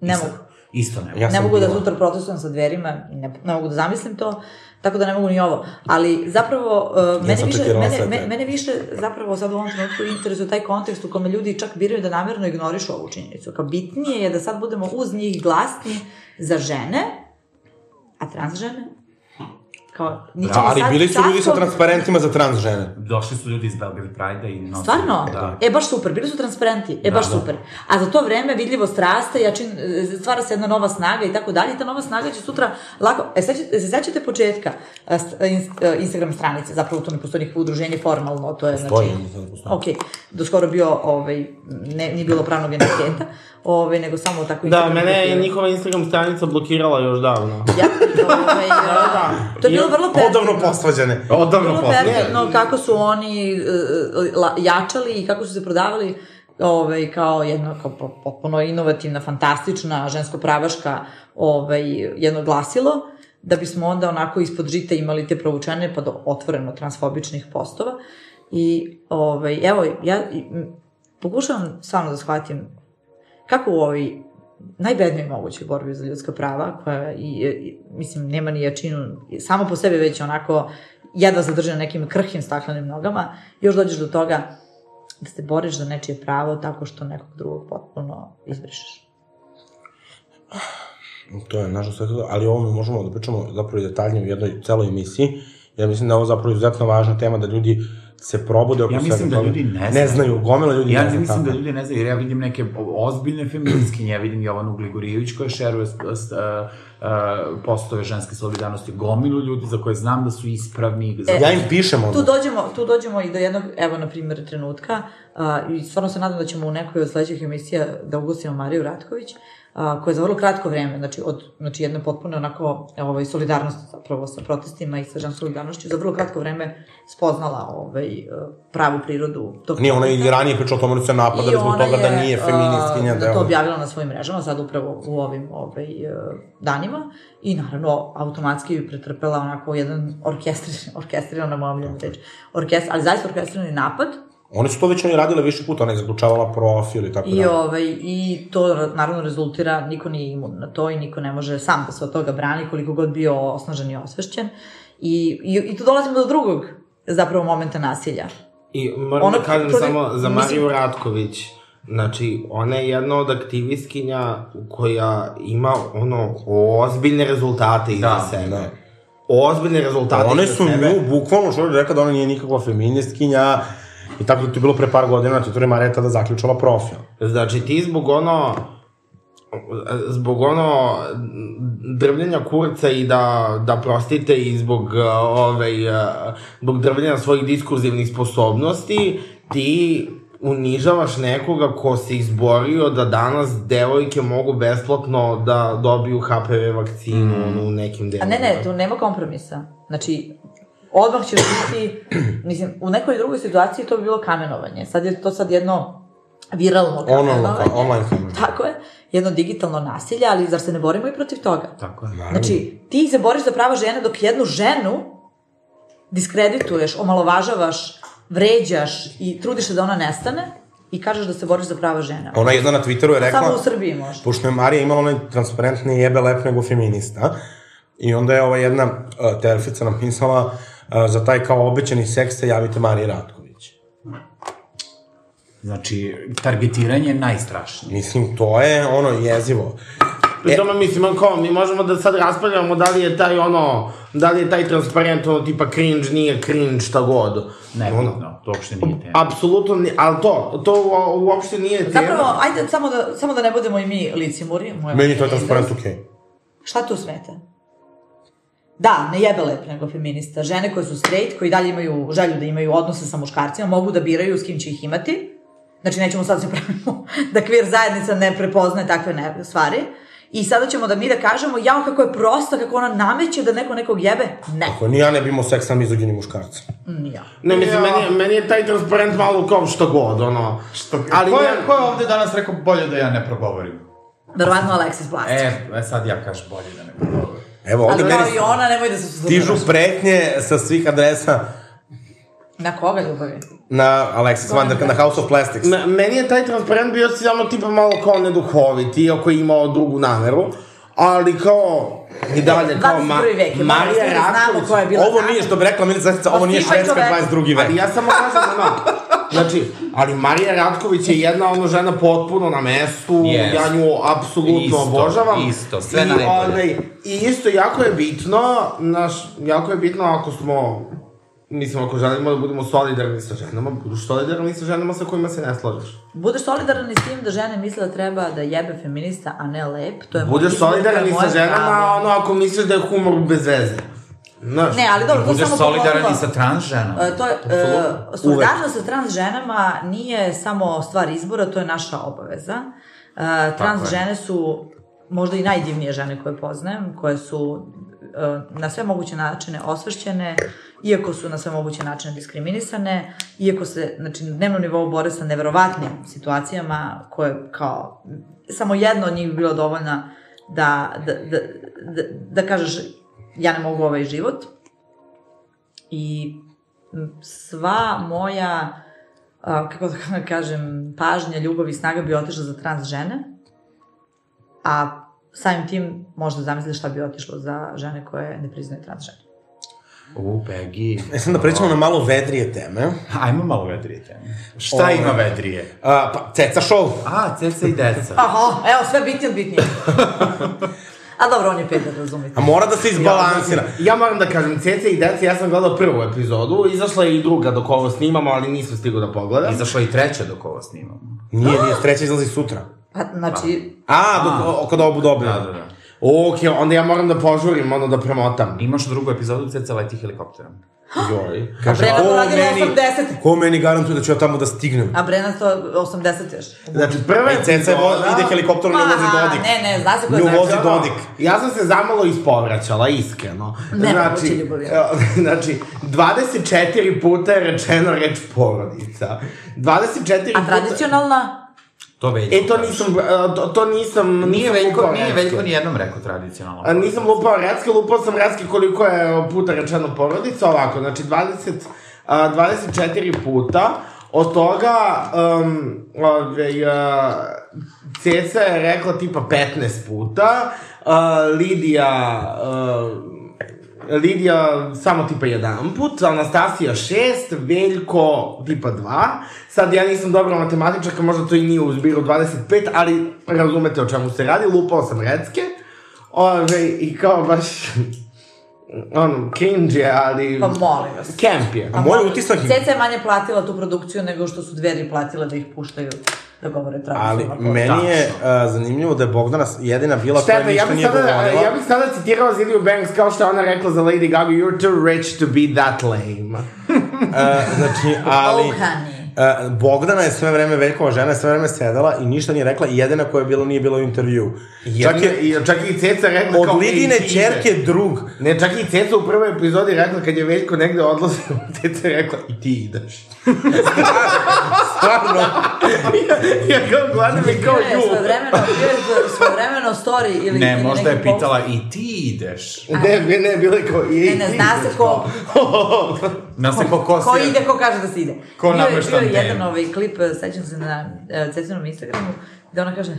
Ne Isto- mogu. Isto ne mogu. Ja ne sam mogu da bila. sutra protestujem sa dverima, ne, ne mogu da zamislim to, tako da ne mogu ni ovo. Ali zapravo, uh, mene, sam više, čekirala mene, sve me, te. mene više zapravo sad u ovom trenutku interesuje taj kontekst u kome ljudi čak biraju da namerno ignorišu ovu činjenicu. Kao bitnije je da sad budemo uz njih glasni za žene, a trans žene? Kao, ni Da, ćemo ali sad bili su ljudi sa čakom- transparentima za trans žene. Došli su ljudi iz Belgrade Pride-a i... nosili- Stvarno? Da. E, baš super, bili su transparenti, e, Da, baš da. super. A za to vreme vidljivost raste, jačin, e, stvara se jedna nova snaga i tako dalje, i ta nova snaga će sutra lako... E, sećate, se sećate početka a, st- a, ins- a, Instagram stranice, zapravo to ne postoji nikakvo udruženje formalno, to je, znači... Stoji, mislim da postoji. Ok, do skoro bio, ovaj, ne, nije bilo pravnog entiteta, ovaj, nego samo tako... Da, Instagram mene je profil. njihova Instagram stranica blokirala još davno. Ja, ovaj, da. To je bilo vrlo Odavno posvađane. Odavno Vrlo posle. perfidno kako su oni e, la, jačali i kako su se prodavali ovaj, kao jedna kao po- potpuno inovativna, fantastična, žensko-pravaška ovaj, jedno glasilo, da bismo onda onako ispod žita imali te provučene pa do otvoreno transfobičnih postova. I ovaj, evo, ja i, m, pokušavam stvarno da shvatim kako u ovoj najbednijoj mogućoj borbi za ljudska prava, koja, i, i, mislim, nema ni jačinu, samo po sebi već je onako jedva zadrži na nekim krhkim staklenim nogama, još dođeš do toga da se boriš za nečije pravo tako što nekog drugog potpuno izbrišeš. To je naša sve, ali o ovome možemo da pričamo zapravo i detaljnije u jednoj celoj emisiji. Ja mislim da je ovo zapravo izuzetno važna tema, da ljudi se probude oko Ja mislim svega da toga. ljudi ne Ne znaju. znaju, gomila ljudi Ja ne zna mislim kako. da ljudi ne znaju, jer ja vidim neke o- ozbiljne feministkinje, ja vidim Jovanu Gligorijević koja šeruje s- s- a, a, postove ženske solidarnosti, gomilu ljudi za koje znam da su E, ispravni. za- Ja im pišem Tu ono. dođemo, tu dođemo i do jednog, evo, na primjer, trenutka, a, i stvarno se nadam da ćemo u nekoj od sledećih emisija da ugostimo Mariju Ratković, a, koja je za vrlo kratko vreme, znači, od, znači jedne potpune onako ovaj, solidarnosti zapravo sa protestima i sa ženskom solidarnošću, za vrlo kratko vreme spoznala ovaj, e, pravu prirodu. tog Nije, ona je i protesta. ranije pričala o tome da su je napadali I zbog ona toga je, da nije feministkinja. a, je Da to ona- objavila na svojim mrežama, sad upravo u ovim ovaj, e, danima. I naravno, automatski je pretrpela onako jedan orkestriran, orkestriran, ne moram da ljubiti reći, orkestr, ali zaista orkestrirani napad. One su to već oni radile više puta, ona je zaključavala profil i tako I, da. ovaj, I to ra- naravno rezultira, niko nije imun na to i niko ne može sam da se od toga brani koliko god bio osnažen i osvešćen. I, i, i tu dolazimo do drugog zapravo momenta nasilja. I moram Ono da kažem što ne- samo za mislim- Mariju Ratković. Znači, ona je jedna od aktivistkinja koja ima ono ozbiljne rezultate iza Da, sebe. Ozbiljne rezultate One iza su sebe. nju, bukvalno, što je rekla da ona nije nikakva feministkinja, i tako da to je bilo pre par godina, to je Marija tada zaključala profil. Znači ti zbog ono zbog ono drvljenja kurca i da, da prostite i zbog uh, ovaj, uh, zbog drvljenja svojih diskurzivnih sposobnosti ti unižavaš nekoga ko se izborio da danas devojke mogu besplatno da dobiju HPV vakcinu mm. u nekim A delovima. ne, ne, tu nema kompromisa. Znači, odmah ćeš biti, mislim, u nekoj drugoj situaciji to bi bilo kamenovanje. Sad je to sad jedno viralno Online, kamenovanje. online kamer. Tako je, jedno digitalno nasilje, ali zar se ne borimo i protiv toga? Da. Tako je. Znači, ti se boriš za prava žene dok jednu ženu diskredituješ, omalovažavaš, vređaš i trudiš se da ona nestane i kažeš da se boriš za prava žena. Ona je jedna na Twitteru je rekla... Samo u Srbiji možda. pošto je Marija imala onaj transparentni jebe lep nego feminista, i onda je ova jedna uh, terfica napisala uh, za taj kao obećani seks se javite Mariji Ratković. Znači, targetiranje je najstrašnije. Mislim, to je ono jezivo. Pri tome mislim, ono kao, mi možemo da sad raspravljamo da li je taj ono, da li je taj transparent ono tipa cringe, nije cringe, šta god. Nebitno, to uopšte nije tema. Apsolutno, ni- ali to, to u- uopšte nije tema. Zapravo, ajde samo da, samo da ne budemo i mi licimuri. moje Meni to je feminizam. transparent okej. Šta tu smeta? Da, ne jebe lep nego feminista. Žene koje su straight, koji dalje imaju želju da imaju odnose sa muškarcima, mogu da biraju s kim će ih imati. Znači, nećemo sad se pravimo da kvir zajednica ne prepoznaje takve ne, stvari. I sada ćemo da mi da kažemo, jao kako je prosta, kako ona nameće da neko nekog jebe. Ne, Ako ni ja ne bi imao seks sa mizoginim muškarcem. nija. Ne, mislim, meni, je- meni je taj transparent malo kao šta god, ono. Šta ali, ko, ne, je, ko je ovde danas rekao bolje da ja ne progovorim? Verovatno Alexis Vlasić. E, e sad ja kažem bolje da ne progovorim. Evo, Ali ovde meni kao i ona, nemoj da se stižu suzdržavaš. pretnje sa svih adresa Na koga ljubavi? na Alexis Vanderka, na House of Plastics. me- meni je taj transparent bio samo tipa malo kao neduhovit, iako je imao drugu nameru. Ali kao, i dalje, kao, ma, 21. vek je, Marija Marija znamo Raković, koja je bila Ovo nije što bi rekla Milica Zasica, ovo nije Osnivač Švedska ove- 22. Ali vek. ja samo kažem, ono, znači, ali Marija Ratković je jedna ono žena potpuno na mestu, Jest. ja nju apsolutno Isto, obožavam. isto, sve I, najbolje. Ovaj, I isto, jako je bitno, naš, jako je bitno ako smo, mislim, ako želimo da budemo solidarni sa ženama, buduš solidarni sa ženama sa kojima se ne slažeš. Budeš solidaran i s tim da žene misle da treba da jebe feminista, a ne lep. To je moj Budeš izbor, da to je solidaran i sa moje pravo. ženama, ono, ako misliš da je humor bez veze. Znaš, Ne, ali dobro, to Budeš samo solidaran i pogotovo- sa trans ženama. E, To je, e, solidarnost sa trans ženama nije samo stvar izbora, to je naša obaveza. E, trans je. žene su možda i najdivnije žene koje poznajem, koje su e, na sve moguće načine osvešćene, iako su na sve moguće načine diskriminisane, iako se znači, na dnevnom nivou bore sa neverovatnim situacijama koje kao samo jedna od njih bi bila dovoljna da, da, da, da, da kažeš ja ne mogu ovaj život. I m, sva moja, a, kako da kažem, pažnja, ljubav i snaga bi otišla za trans žene, a samim tim možda zamislite šta bi otišlo za žene koje ne priznaju trans žene. U, Peggy. E sad da prećemo na malo vedrije teme. Ajmo malo vedrije teme. Šta Ovo. ima vedrije? A, pa, ceca show. A, ceca i deca. Aha, evo sve bitnije od bitnije. a dobro, on je peder, razumite. A mora da se izbalansira. Ja moram da kažem, Cece i Deca, ja sam gledao prvu epizodu, izašla je i druga dok ovo snimamo, ali nisam stigao da pogledam. Izašla je i treća dok ovo snimamo. Nije, nije, treća izlazi sutra. Pa, znači, A, dok, o, kada ovo budu Da, objavljeno. da, da. Ok, onda ja moram da požurim, ono da premotam. Imaš drugu epizodu ceca leti helikopterom. Joj. Kaže, Brena to ko radila meni- 80. Ko meni garantuje da ću ja tamo da stignem? a Brena to 80 još. Znači, prva Ej, ceca je Da. vo- ide helikopterom i vozi Pa, Dodik. Ne, ne, zna se ko je Nju znači. vozi Dodik. Ja sam se zamalo ispovraćala, iskreno. Ne, moguće ljubav je. znači, 24 puta je rečeno reč porodica. 24 A puta... tradicionalna? To Veljko. E, to kaže. nisam, e, to, to nisam... Nije nisam Veljko, lupao nije recke. Veljko nijednom rekao tradicionalno. A, Nisam lupao recke, lupao sam recke koliko je puta rečeno porodica, ovako, znači 20, a, 24 puta, od toga, um, ovaj, a, Ceca je rekla tipa 15 puta, a, Lidija, a, Lidija samo tipa jedan put, Anastasija šest, Veljko tipa dva. Sad ja nisam dobra matematičarka, možda to i nije u zbiru 25, ali razumete o čemu se radi, lupao sam recke. Ove, i kao baš, ono, cringe je, ali... Pa molim vas. Camp je. A moj utisak je... Ceca je manje platila tu produkciju nego što su dveri platile da ih puštaju da govore Ali transovno. meni je uh, zanimljivo da je Bogdana jedina bila koja Šteta, ja ništa bih nije sada, govorila. ja bih sada citirao Ziliju Banks kao što je ona rekla za Lady Gaga, you're too rich to be that lame. Uh, znači, ali... Oh, honey. Uh, Bogdana je sve vreme, Veljkova žena je sve vreme sedela i ništa nije rekla i jedina koja je bila nije bila u intervju. Čak, je, čak je i Ceca rekla Od kao, Lidine "Ej, ti ide." čerke drug. Ne, čak je i Ceca u prvoj epizodi rekla kad je Veljko negde odlazio, Ceca je rekla i ti ideš. Stvarno. ja kao gledam i kao Bio je ju. svojevremeno, bio je svojevremeno story ili... Ne, ili možda je neki post. pitala i ti ideš. Ne, ne, ne, bilo je kao i Ne, ne, zna se ko, Na se ko kosi. ko ide, ko kaže da se ide. Pa Ko Bio je- nameštan Bio je jedan temu. ovaj klip, sećam se na uh, Cecinom Instagramu, gde ona kaže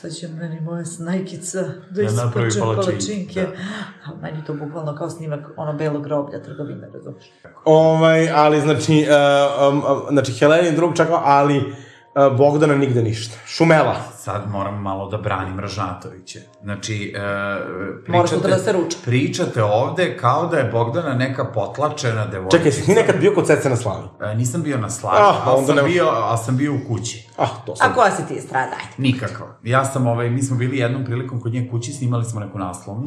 sad će meni moja snajkica da napravi isprčem palačinke, palačinke. da. A meni je to bukvalno kao snimak ono belo groblja trgovine, razumiješ? Ovaj, ali znači, uh, um, um, znači Helenin drug čakao, ali uh, Bogdana nigde ništa. Šumela. Sad moram malo da branim Ražnatovića. Znači, e, Moraš sutra da se ruča. pričate ovde kao da je Bogdana neka potlačena devojčica. Čekaj, si ti nekad bio kod Cece na slavi? E, nisam bio na slavi, Ah, ali, onda sam nema- bio, ali sam bio u kući. Ah, to sam. A koja si ti strada? Ajde. Nikako. Ja sam, ovaj, mi smo bili jednom prilikom kod nje kući, snimali smo neku naslovnu.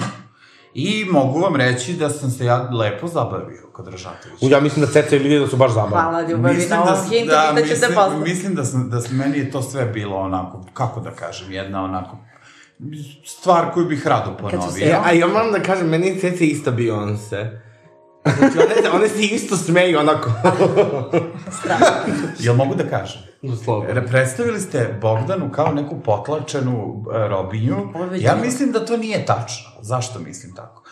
I mogu vam reći da sam se ja lepo zabavio kod Ražatovića. U, Ja mislim da Ceca i Lidija da su baš zabavni. Hvala ljubavi na ovom hintu i da ćete mislim, poslati. mislim da, sam, da sam, meni je to sve bilo onako, kako da kažem, jedna onako stvar koju bih rado ponovio. E, a ja moram da kažem, meni je Ceca ista Beyoncé. Znači, one, se- one se isto smeju onako. Jel mogu da kažem? Doslovno. Re- Predstavili ste Bogdanu kao neku potlačenu e, robinju. Ovo je već Ja bilo. mislim da to nije tačno. Zašto mislim tako?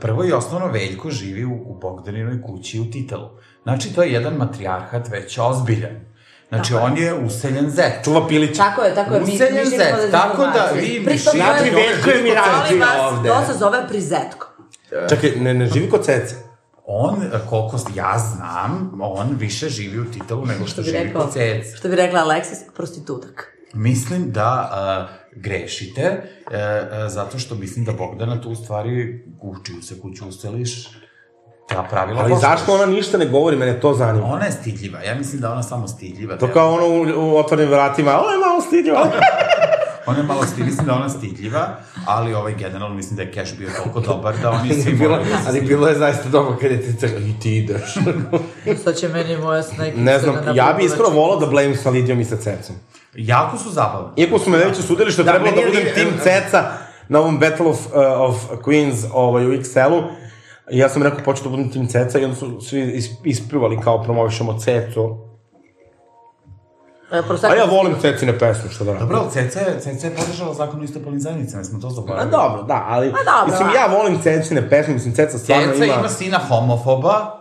Prvo i osnovno, Veljko živi u, u Bogdaninoj kući u Titelu. Znači, to je jedan matrijarhat već ozbiljan. Znači, on je useljen zet. Čuva Pilić. Tako je, tako je. Mi, Useljen mi živimo zec, od tako da informacije. vi Pri tome mišljate ovo je- Znači, Veljko je Mirađi Molim vas, ovde. To se zove prizetko. Čekaj, ne, ne živi kod Cece. On, e, koliko ja znam, on više živi u Titelu nego što, Što bi Znači, živi rekao, kod Ceca. što bi rekla Aleksis, prostitutak. Mislim da uh, grešite, uh, uh, zato što mislim da Bogdana tu u stvari uči se kuću useliš, ta pravila Ali poštuješ. zašto ona ništa ne govori, mene to zanima. Ona je stidljiva, ja mislim da je ona samo stidljiva. To kao ono u, u otvornim vratima, ovo je malo stidljivo. Ona je malo stidljiva, mislim da je ona stidljiva, ali ovaj generalno mislim da je Cash bio toliko dobar da oni svi Bilo, morali da se ali bilo je zaista dobro kad je Ceca i ti ideš. Sad će meni moja snajkica ne znam, ja bi iskreno volao da blame sa Lidijom i sa Cecom. Jako su zabavni. Iako su me već osudili što je Da, trebalo meni da je budem Lidija- tim Ceca na ovom Battle of, uh, of Queens ovaj, u XL-u, ja sam rekao počeo da budem tim Ceca i onda su svi is, isplivali kao promovišemo Cecu. E, A ja volim Cecine pesme, što da radim. Dobro, ali CC, je- CC je podržala zakon o istopolin zajednicama, smo to A zaboravili. dobro, da, ali... dobro, mislim, a- ja volim Cecine pesme, mislim, Ceca Da, stvarno Ceca ima... ima sina homofoba,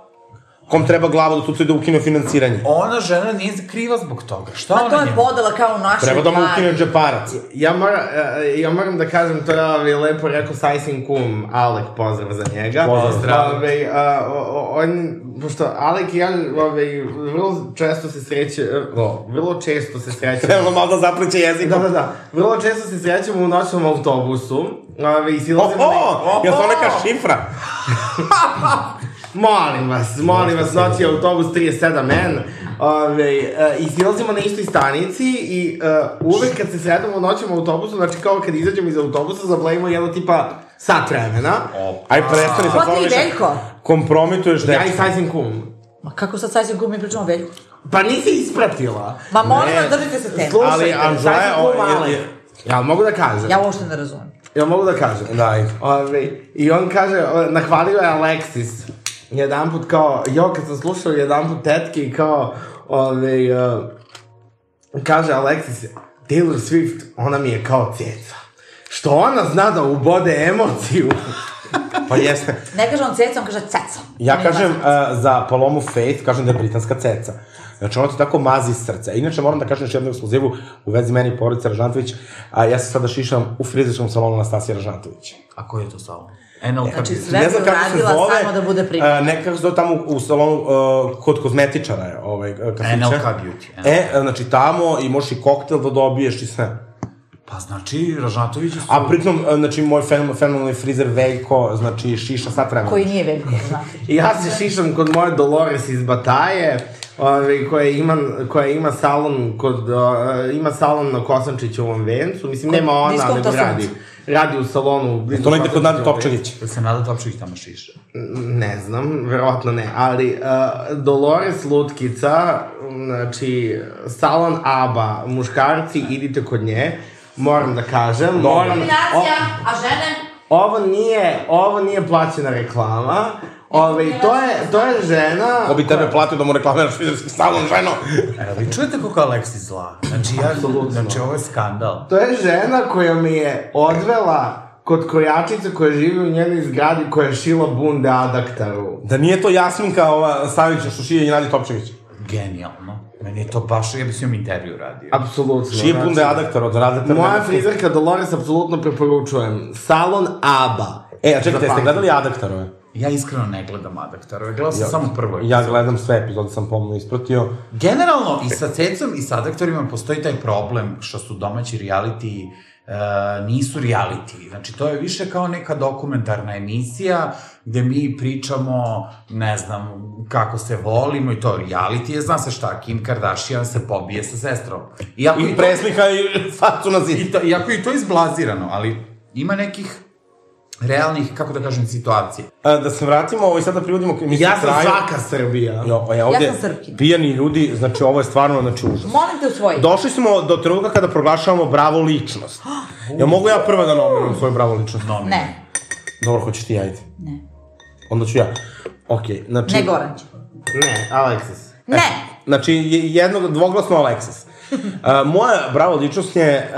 Kom treba glava da tucaju da ukine financiranje. ona žena nije kriva zbog toga. Šta Pa ona to je njemu? podela kao u našoj Treba da mu vladi. ukine džeparac. Ja, mora, e, ja moram da kažem, to je ovaj lepo rekao Sajsin kum, Alek, pozdrav za njega. Pozdrav. Pozdrav. Ove, a, o- o- on, pošto Alek i ja, ove, vrlo često se sreće, o, vrlo često se srećemo. Evo, malo da zapliče jezik. Da, da, da. Vrlo često se srećemo u noćnom autobusu. Ove, i Oho, silazimo... na- jel to Oho! neka šifra? Molim vas, molim vas, noći je autobus 37N. Ove, e, I silazimo na istoj stanici i e, uvek kad se sredamo u noćnom autobusu, znači kao kad izađemo iz autobusa, zablejimo jedno tipa sat vremena. Aj, prestani sa Ko Pa ti formiša. Veljko? Kompromituješ Ja i decu. sajsim kum. Ma kako sad sajsim gumi pričamo o Veljku? Pa nisi ispratila. Ma molim Ne. vas, držite se teme. Slušajte, Ali, Anđela, sajsim kum, o, je- ali... je- Ja mogu da kažem. Ja uopšte ne razumem. Ja mogu da kažem. Da, ajde. Ove, I on kaže, o, nahvalio je Alexis. Jedan put kao, jo, kad sam slušao jedan put tetke i kao, ove, uh, kaže Alexis, Taylor Swift, ona mi je kao ceca. Što ona zna da ubode emociju. Pa jeste. e, Ne kaže on ceca, on kaže ceca. Ja kažem uh, za Palomu Faith, kažem da je britanska ceca. Znači, ono ti tako mazi iz srca. Inače, moram da kažem još jednu ekskluzivu u vezi meni i porodice Ražantović. A, ja se sada šišam u frizerskom salonu Anastasije Ražantović. A koji je to salon? Enel Znači, Kardiz. sve ne ne znam kako se uradila zove. e, samo da bude primjer. a, nekako se zove tamo u, u salonu a, kod kozmetičara je ovaj, a, kafića. NLK Beauty, E, a, znači tamo i možeš i koktel da dobiješ i sve. Pa znači, Ražnatovići su... A pritom, a, znači, moj fen- fenomenalni frizer Veljko, znači, šiša sat vremena. Koji nije veliko, znači. Ja se šišam kod moje Dolores iz Bataje, ovaj, koja, ima, koja ima salon kod, uh, ima salon na Kosančićevom vencu, mislim nema ona, diskonta nego sunca. radi. Radi u salonu. blizu To negde kod Nade Kosančićevog Topčagić. Jel se nada Topčević tamo šiša? Ne znam, verovatno ne, ali uh, Dolores Lutkica, znači salon ABA, muškarci, idite kod nje, moram da kažem, moram... Kombinacija, a žene? ovo nije, ovo nije plaćena reklama, Ove, to je, to je žena... Ko bi tebe platio da mu reklamiraš frizerski salon, ženo? E, vi čujete kako je Alexis zla? Znači, ja, znači, ovo je skandal. To je žena koja mi je odvela kod krojačice koja živi u njenoj zgradi koja je šila bunde adaktaru. Da nije to Jasminka ova Savića što šije i Nadi Topčević. Genijalno. Meni je to baš, ja bi s njom intervju radio. Apsolutno. Šije znači, bunde adaktor od razete. Moja frizerka Dolores apsolutno preporučujem. Salon ABA. E, a čekajte, jeste Zapamtite. gledali adaktorove? Ja iskreno ne gledam Adaktarove, gledao sam samo prvo. Ja gledam sve epizode, sam pomno ispratio. Generalno, i sa cecom i sa adaktorima postoji taj problem što su domaći reality Uh, nisu reality. Znači, to je više kao neka dokumentarna emisija gde mi pričamo, ne znam, kako se volimo i to reality je, zna se šta, Kim Kardashian se pobije sa sestrom. Iako I to- preslika i facu na zid. E, I to, iako je to izblazirano, ali ima nekih realnih, kako da kažem, situacija. A, da se vratimo, ovo i sada privodimo k- mislim Ja sam kraju. svaka Srbija. Jo, pa ja, ovde, sam Srpkinja. Pijani ljudi, znači ovo je stvarno, znači užas. Molim te usvoji. Došli smo do trenutka kada proglašavamo bravo ličnost. Ja mogu ja prva da nominujem svoju bravo ličnost? No, Ne, Dobro, hoćeš ti, ajde. Ne. Onda ću ja. Okej, znači... ne Goran će. Ne, Alexis. Ne! Znači, je- jednog, dvoglasno Alexis. Uh, moja bravo ličnost je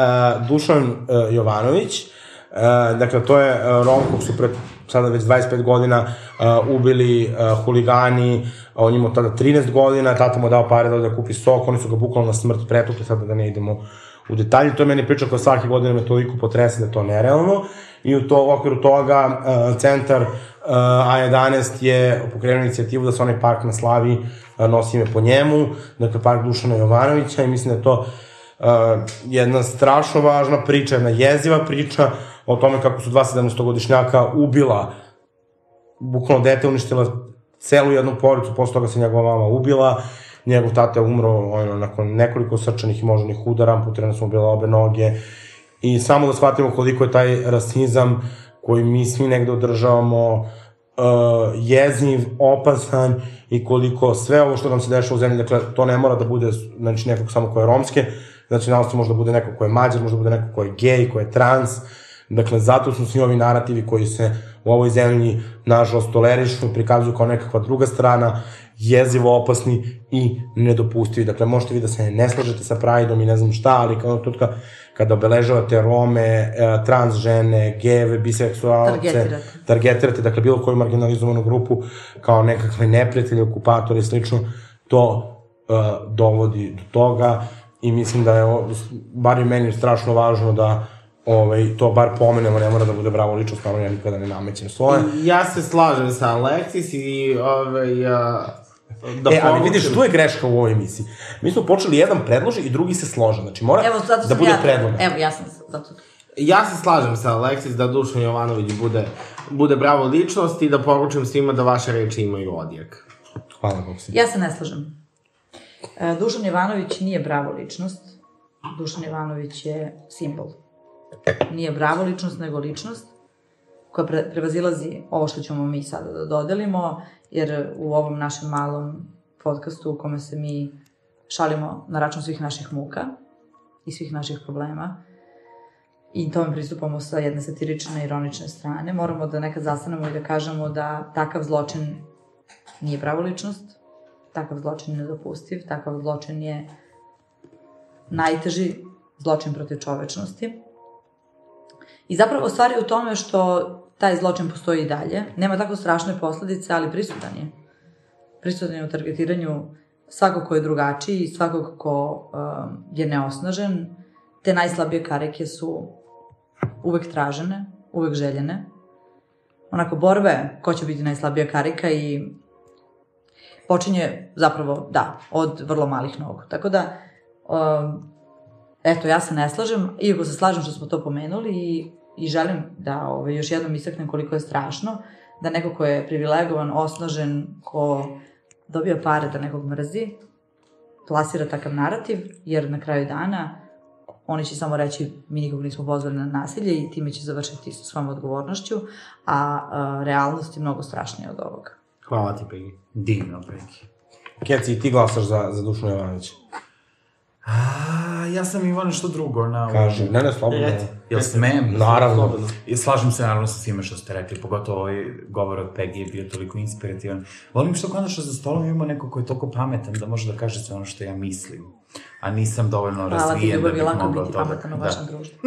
uh, Dušan uh, Jovanović. Uh, dakle, to je uh, Rom kog su pre sada već 25 godina uh, ubili uh, huligani, a on je imao tada 13 godina, tata mu je dao pare da ode da kupi sok, oni su ga bukvalno na smrt pretukli, sada da ne idemo u detalje, to je meni priča koja svake godine me toliko potrese da je to nerealno i u to, u okviru toga uh, centar uh, A11 je pokrenuo inicijativu da se onaj park na Slavi uh, nosi ime po njemu, dakle park Dušana Jovanovića i mislim da je to uh, jedna strašno važna priča, jedna jeziva priča o tome kako su dva 17-godišnjaka ubila bukvalno dete uništila celu jednu porodicu, posle toga se njegova mama ubila, njegov tata je umro ono, nakon nekoliko srčanih i moždanih udara, amputirane su mu bile obe noge i samo da shvatimo koliko je taj rasizam koji mi svi negde održavamo uh, jezniv, opasan i koliko sve ovo što nam se dešava u zemlji, dakle to ne mora da bude znači, nekog samo ko je romske, znači na osnovu možda bude neko ko je mađar, možda bude neko ko je gej, ko je trans, Dakle, zato su svi ovi narativi koji se u ovoj zemlji, nažalost, tolerišu i prikazuju kao nekakva druga strana, jezivo opasni i nedopustivi. Dakle, možete vi da se ne slažete sa Prideom i ne znam šta, ali kao tutka, kada obeležavate Rome, e, trans žene, geve, biseksualce, Targetirate. targetirate, dakle, bilo koju marginalizovanu grupu kao nekakve neprijatelje, okupatore i slično, to e, dovodi do toga i mislim da je, o- bar i meni strašno važno da ovaj, to bar pomenemo, ne mora da bude bravo ličnost, naravno ja nikada ne namećem svoje. Ja se slažem sa Alexis i ovaj... Uh, da e, ali povučem- vidiš, tu je greška u ovoj emisiji. Mi smo počeli jedan predloži i drugi se slože, znači mora Evo, zato da sam bude ja. predloga. Evo, ja sam zato. Ja se slažem sa Aleksis da Dušan Jovanović bude, bude bravo ličnost i da poručim svima da vaše reči imaju odjek. Hvala, Boksi. Ja se ne slažem. E, Dušan Jovanović nije bravo ličnost. Dušan Jovanović je simbol. Nije bravo ličnost, nego ličnost koja pre, prevazilazi ovo što ćemo mi sada da dodelimo, jer u ovom našem malom podcastu u kome se mi šalimo na račun svih naših muka i svih naših problema i tome pristupamo sa jedne satirične, ironične strane, moramo da nekad zastanemo i da kažemo da takav zločin nije pravo ličnost, takav zločin je nedopustiv, takav zločin je najteži zločin protiv čovečnosti. I zapravo stvar je u tome što taj zločin postoji i dalje. Nema tako strašne posledice, ali prisutan je. Prisutan je u targetiranju svako ko je drugačiji, svakog ko um, je neosnažen, te najslabije karike su uvek tražene, uvek željene. Onako, borbe, ko će biti najslabija karika i počinje zapravo, da, od vrlo malih nogu. Tako da, um, eto, ja se ne slažem, iako se slažem što smo to pomenuli i, i želim da ovaj, još jednom istaknem koliko je strašno da neko ko je privilegovan, osnažen, ko dobija pare da nekog mrzi, plasira takav narativ, jer na kraju dana oni će samo reći mi nikog nismo pozvali na nasilje i time će završiti sa svojom odgovornošću, a, a realnost je mnogo strašnija od ovoga. Hvala ti, Peggy. Divno, Peki. Keci, i ti glasaš za, za Dušanu Jovanovića. A, ja sam Ivana što drugo na... Kaži, ne, ne, slobodno. Reci. Jel smem? Naravno. Slobodno. I slažem se naravno sa svime što ste rekli, pogotovo ovaj govor od Peggy je bio toliko inspirativan. Volim što konačno za stolom imamo neko ko je toliko pametan da može da kaže sve ono što ja mislim. A nisam dovoljno Hvala ti, razvijen da ljubav, bih je lako mogla biti to da... pametan u vašem društvu.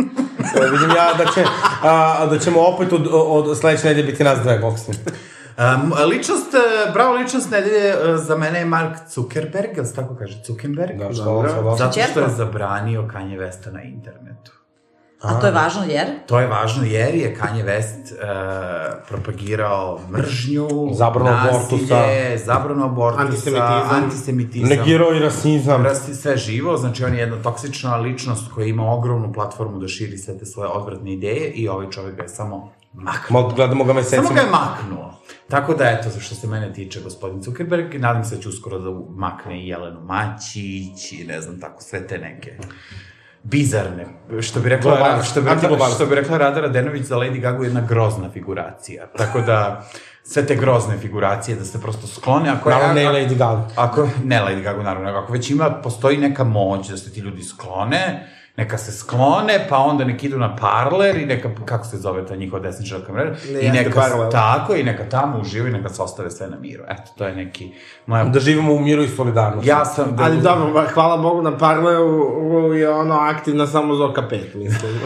E, vidim ja da, će, a, da ćemo opet od, od sledeće nedelje biti nas dve boksni. Um, ličnost, e, bravo ličnost nedelje e, za mene je Mark Zuckerberg, jel se tako kaže Zuckerberg? Da, što Dobro. ovo sad ovo? Zato što je Čerko. zabranio Kanye Westa na internetu. A to je važno jer To je važno jer je Kanye West uh, propagirao mržnju, Zabranu abortusa. nasilje, zabranu abortusa, Antisemitizam. antisemitizam Negirao i rasizam. rasti sve živo, znači on je jedna toksična ličnost koja ima ogromnu platformu da širi sve te svoje odvratne ideje i ovaj čovek ga je samo maknuo. Mal, gledamo ga mesecima. Samo ga je maknuo. Tako da, eto, za što se mene tiče gospodin Zuckerberg, nadam se da će uskoro da makne i Jelenu Maćić i ne znam tako, sve te neke bizarne, što bi rekla, Globalno, što bi rekla, antiglobalno. što bi rekla Rada Radenović za Lady Gaga je jedna grozna figuracija. Tako da, sve te grozne figuracije da se prosto sklone, ako Naravno, ne ako- Lady Gaga. Ako, ne Lady Gaga, naravno, nego ako već ima, postoji neka moć da se ti ljudi sklone, neka se sklone, pa onda nek idu na parler i neka, kako se zove ta njihova desničarka mreža, Ne, i neka, Parler. tako, i neka tamo uživaju i neka se ostave sve na miru. Eto, to je neki moja... Da živimo u miru i solidarnosti. ja sam... Da, Ali dobro, ba, hvala Bogu na Parleru u- je ono aktivna samo Zoka 5, mislim.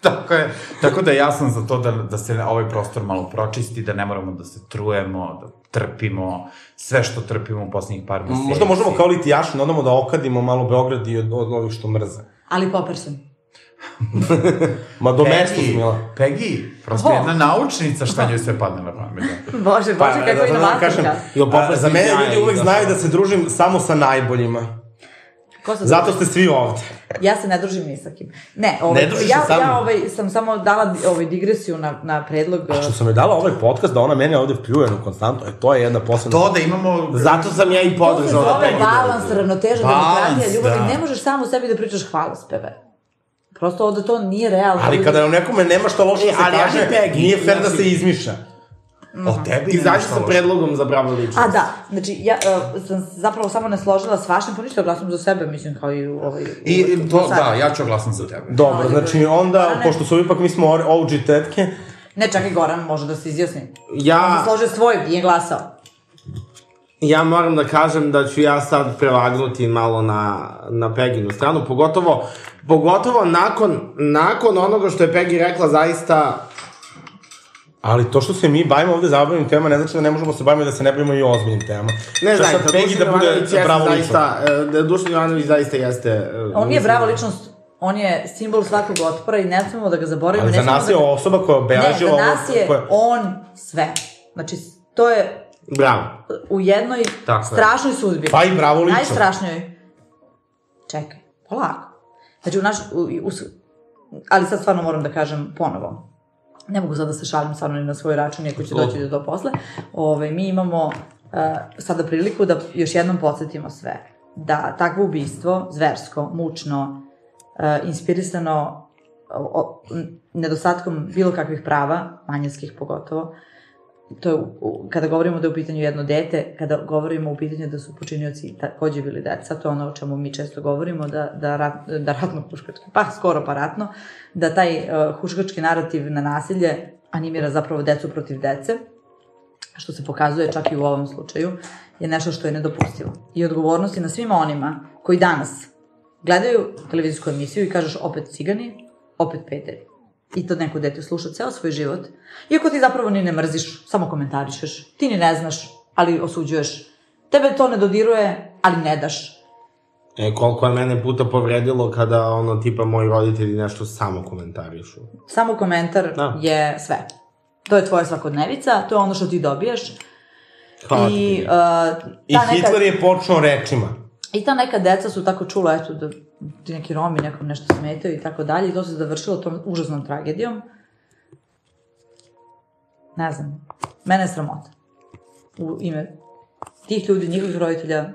Tako je. Tako da ja sam za to da, da se ovaj prostor malo pročisti, da ne moramo da se trujemo, da trpimo sve što trpimo u poslednjih par meseci. Možda možemo kao litijaši da odamo da okadimo malo Beograd i od, od ovih što mrze. ali Popperson. Ma do mesta Peggy, smila. Peggy, prosto Ho. jedna naučnica šta njoj sve padne na pamet. da. Bože, bože, kako je kažem, inovacija. Jo, a, za mene sjajni, ljudi uvek da. znaju da se družim samo sa najboljima. Ko se Zato ste svi ovde. Ja se ne družim ni sa kim. Ne, ovaj, Ne družiš se ja, sa mnom? ja ovaj, sam samo dala ovaj, digresiju na, na predlog... A što sam joj dala ovaj podcast da ona mene ovde pljuje na konstantno, e, to je jedna posebna... To da imamo... Zato sam ja i To eh, se podržao da zove Peggy balans, ravnoteža, Balans, demokratija, ljubav. da. Da. Ne možeš samo sebi da pričaš hvalospeve. Prosto ovde to nije realno. Ali Ljudi- kada nam nekome nema što loše E, da se ali kaže, ajde, Peggy, nije fer da znači- se izmišlja. O tebi Ti zašto nešto sa Mhm. loše. predlogom za bravo ličnost? A da, znači ja uh, sam se zapravo samo ne složila s vašim, pa ništa glasom za sebe, mislim, kao i u ovaj... I u- i to, sad. da, ja ću glasam za tebe. Dobro, Ali- znači onda, Pa ne. pošto su ipak mi smo or- OG tetke, Ne, čak i Goran može da se izjasni. On Ja, se složio svoj, nije glasao. ja moram da kažem da ću ja sad prevagnuti malo na, na Peginu stranu, pogotovo, pogotovo nakon, nakon onoga što je Peggy rekla zaista ali to što se mi bavimo ovde zabavnim temama ne znači da ne možemo se bavimo i da se ne bavimo i ozbiljnim temama. Ne Šta znam, sad Peggy da bude pravo lično. zaista, e, Dušan Jovanović zaista jeste... e, On nije mislim- brava ličnost, on je simbol svakog otpora i ne smemo da ga zaboravimo. Ali ne za smemo nas je da... osoba koja Ne, obeleži za nas je koja- on sve. Znači, to je Bravo. u jednoj Tako je. strašnoj sudbi. Pa i bravo lično. Najstrašnjoj. Čekaj, polako. Znači, u naš... U, u, ali sad stvarno moram da kažem ponovo. Ne mogu sad da se šalim stvarno ni na svoj račun, iako će doći do to posle. Ove, mi imamo uh, sada priliku da još jednom podsjetimo sve. Da takvo ubistvo, zversko, mučno, uh, inspirisano o, o, m, nedostatkom bilo kakvih prava, manjinskih pogotovo, to je, u- u- kada govorimo da je u pitanju jedno dete, kada govorimo u pitanju da su počinioci takođe bili deca, to je ono o čemu mi često govorimo, da, da, rat, da ratno huškački, pa skoro pa ratno, da taj uh, huškački narativ na nasilje animira zapravo decu protiv dece, što se pokazuje čak i u ovom slučaju, je nešto što je nedopustivo. I odgovornost je na svima onima koji danas gledaju televizijsku emisiju i kažeš opet cigani, opet pederi. I to neko dete sluša ceo svoj život. Iako ti zapravo ni ne mrziš, samo komentarišeš. Ti ni ne znaš, ali osuđuješ. Tebe to ne dodiruje, ali ne daš. E, koliko je mene puta povredilo kada, ono, tipa, moji roditelji nešto samo komentarišu. Samo komentar Da. je sve. To je tvoja svakodnevica, to je ono što ti dobijaš. Hvala ti. I, Kiri. uh, ta I neka, Hitler je počeo rečima. I ta neka deca su tako čula, eto, da ti neki Romi nekom nešto smetaju i tako dalje. I to se završilo tom užasnom tragedijom. Ne znam. Mene je sramota. U ime tih ljudi, njihovih roditelja,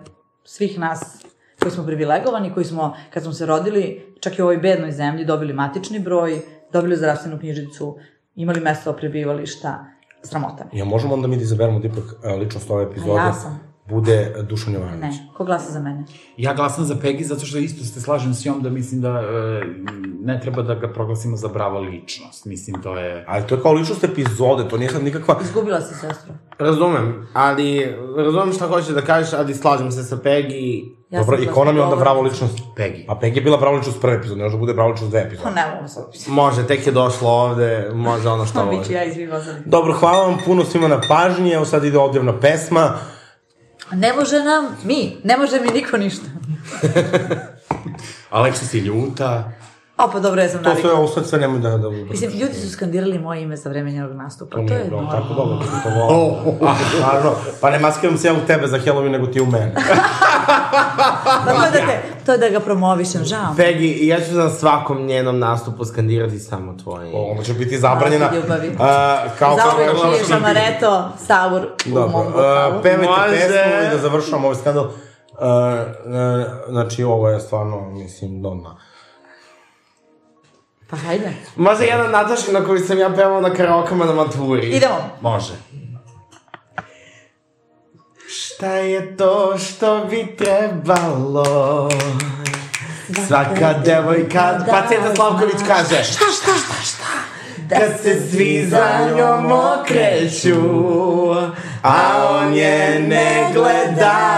svih nas koji smo privilegovani, koji smo, kad smo se rodili, čak i u ovoj bednoj zemlji, dobili matični broj, dobili zdravstvenu knjižicu, imali mesto prebivališta, sramota mi. Ja možemo onda mi da izaberemo da ipak e, ličnost ove epizode A ja sam. bude e, Dušan Jovanović. Ne, ko glasa za mene? Ja glasam za Peggy zato što isto se slažem s njom da mislim da e, ne treba da ga proglasimo za brava ličnost. Mislim, to je... Ali to je kao ličnost epizode, to nije sad nikakva... Izgubila si sestru. Razumem, ali razumem šta hoćeš da kažeš, ali slažem se sa Pegi. Ja Dobro, sam i ko nam je onda glasnogovornik. bravo ličnost? Peggy. A Peg je bila bravo ličnost prve epizode, ne može da bude bravo ličnost dve Pa epizode. ne mogu sad. Može, tek je došla ovde, može ono što Bit ću voli. ja izviva za Dobro, hvala vam puno svima na pažnji, evo sad ide odjevna pesma. Ne može nam, mi, ne može mi niko ništa. Aleksis je ljuta. A pa dobro, ja sam To sve, navikla. ovo sad sve nemoj da... da Mislim, ljudi su skandirali moje ime za vreme njenog nastupa. To, To je je normalno. tako dobro, da sam to volao. Oh. Stvarno, pa ne maskiram se ja u tebe za Halloween, nego ti u mene. Pa to je da, te, to je da ga promovišem, žao. Pegi, ja ću na svakom njenom nastupu skandirati samo tvoje. O, Ona će biti zabranjena. Hvala ti, ljubavi. a, kao Zauvek kao- je šamareto, saur u mom Dobro, vokalu. uh, pevajte Može. pesmu i da završamo ovaj skandal. Uh, uh, znači, ovo je stvarno, mislim, do dna. Pa hajde, Može jedna Nataša na koju sam ja pevao na karaokama na maturi. idemo. Može. Šta je to što bi trebalo? Svaka devojka... da Pa Ceta Slavković zna. kaže... Šta, šta, šta, šta? Da Kad se svi za njom okreću, a on je ne gleda.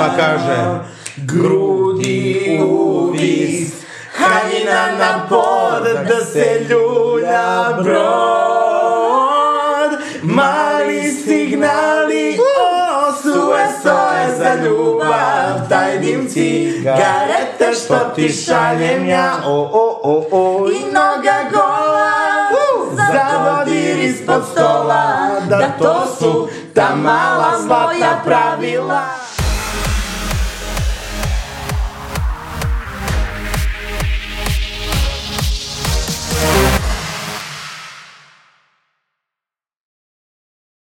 Pa kaže, Grudi u vis, haljina na pod, da se ljulja brod. Mali signali, o, SOS za ljubav, tajnim cigareta što ti šaljem ja, o, o, o, o. I noga gola, Zavodir ispod stola, da to su ta mala zlata pravila.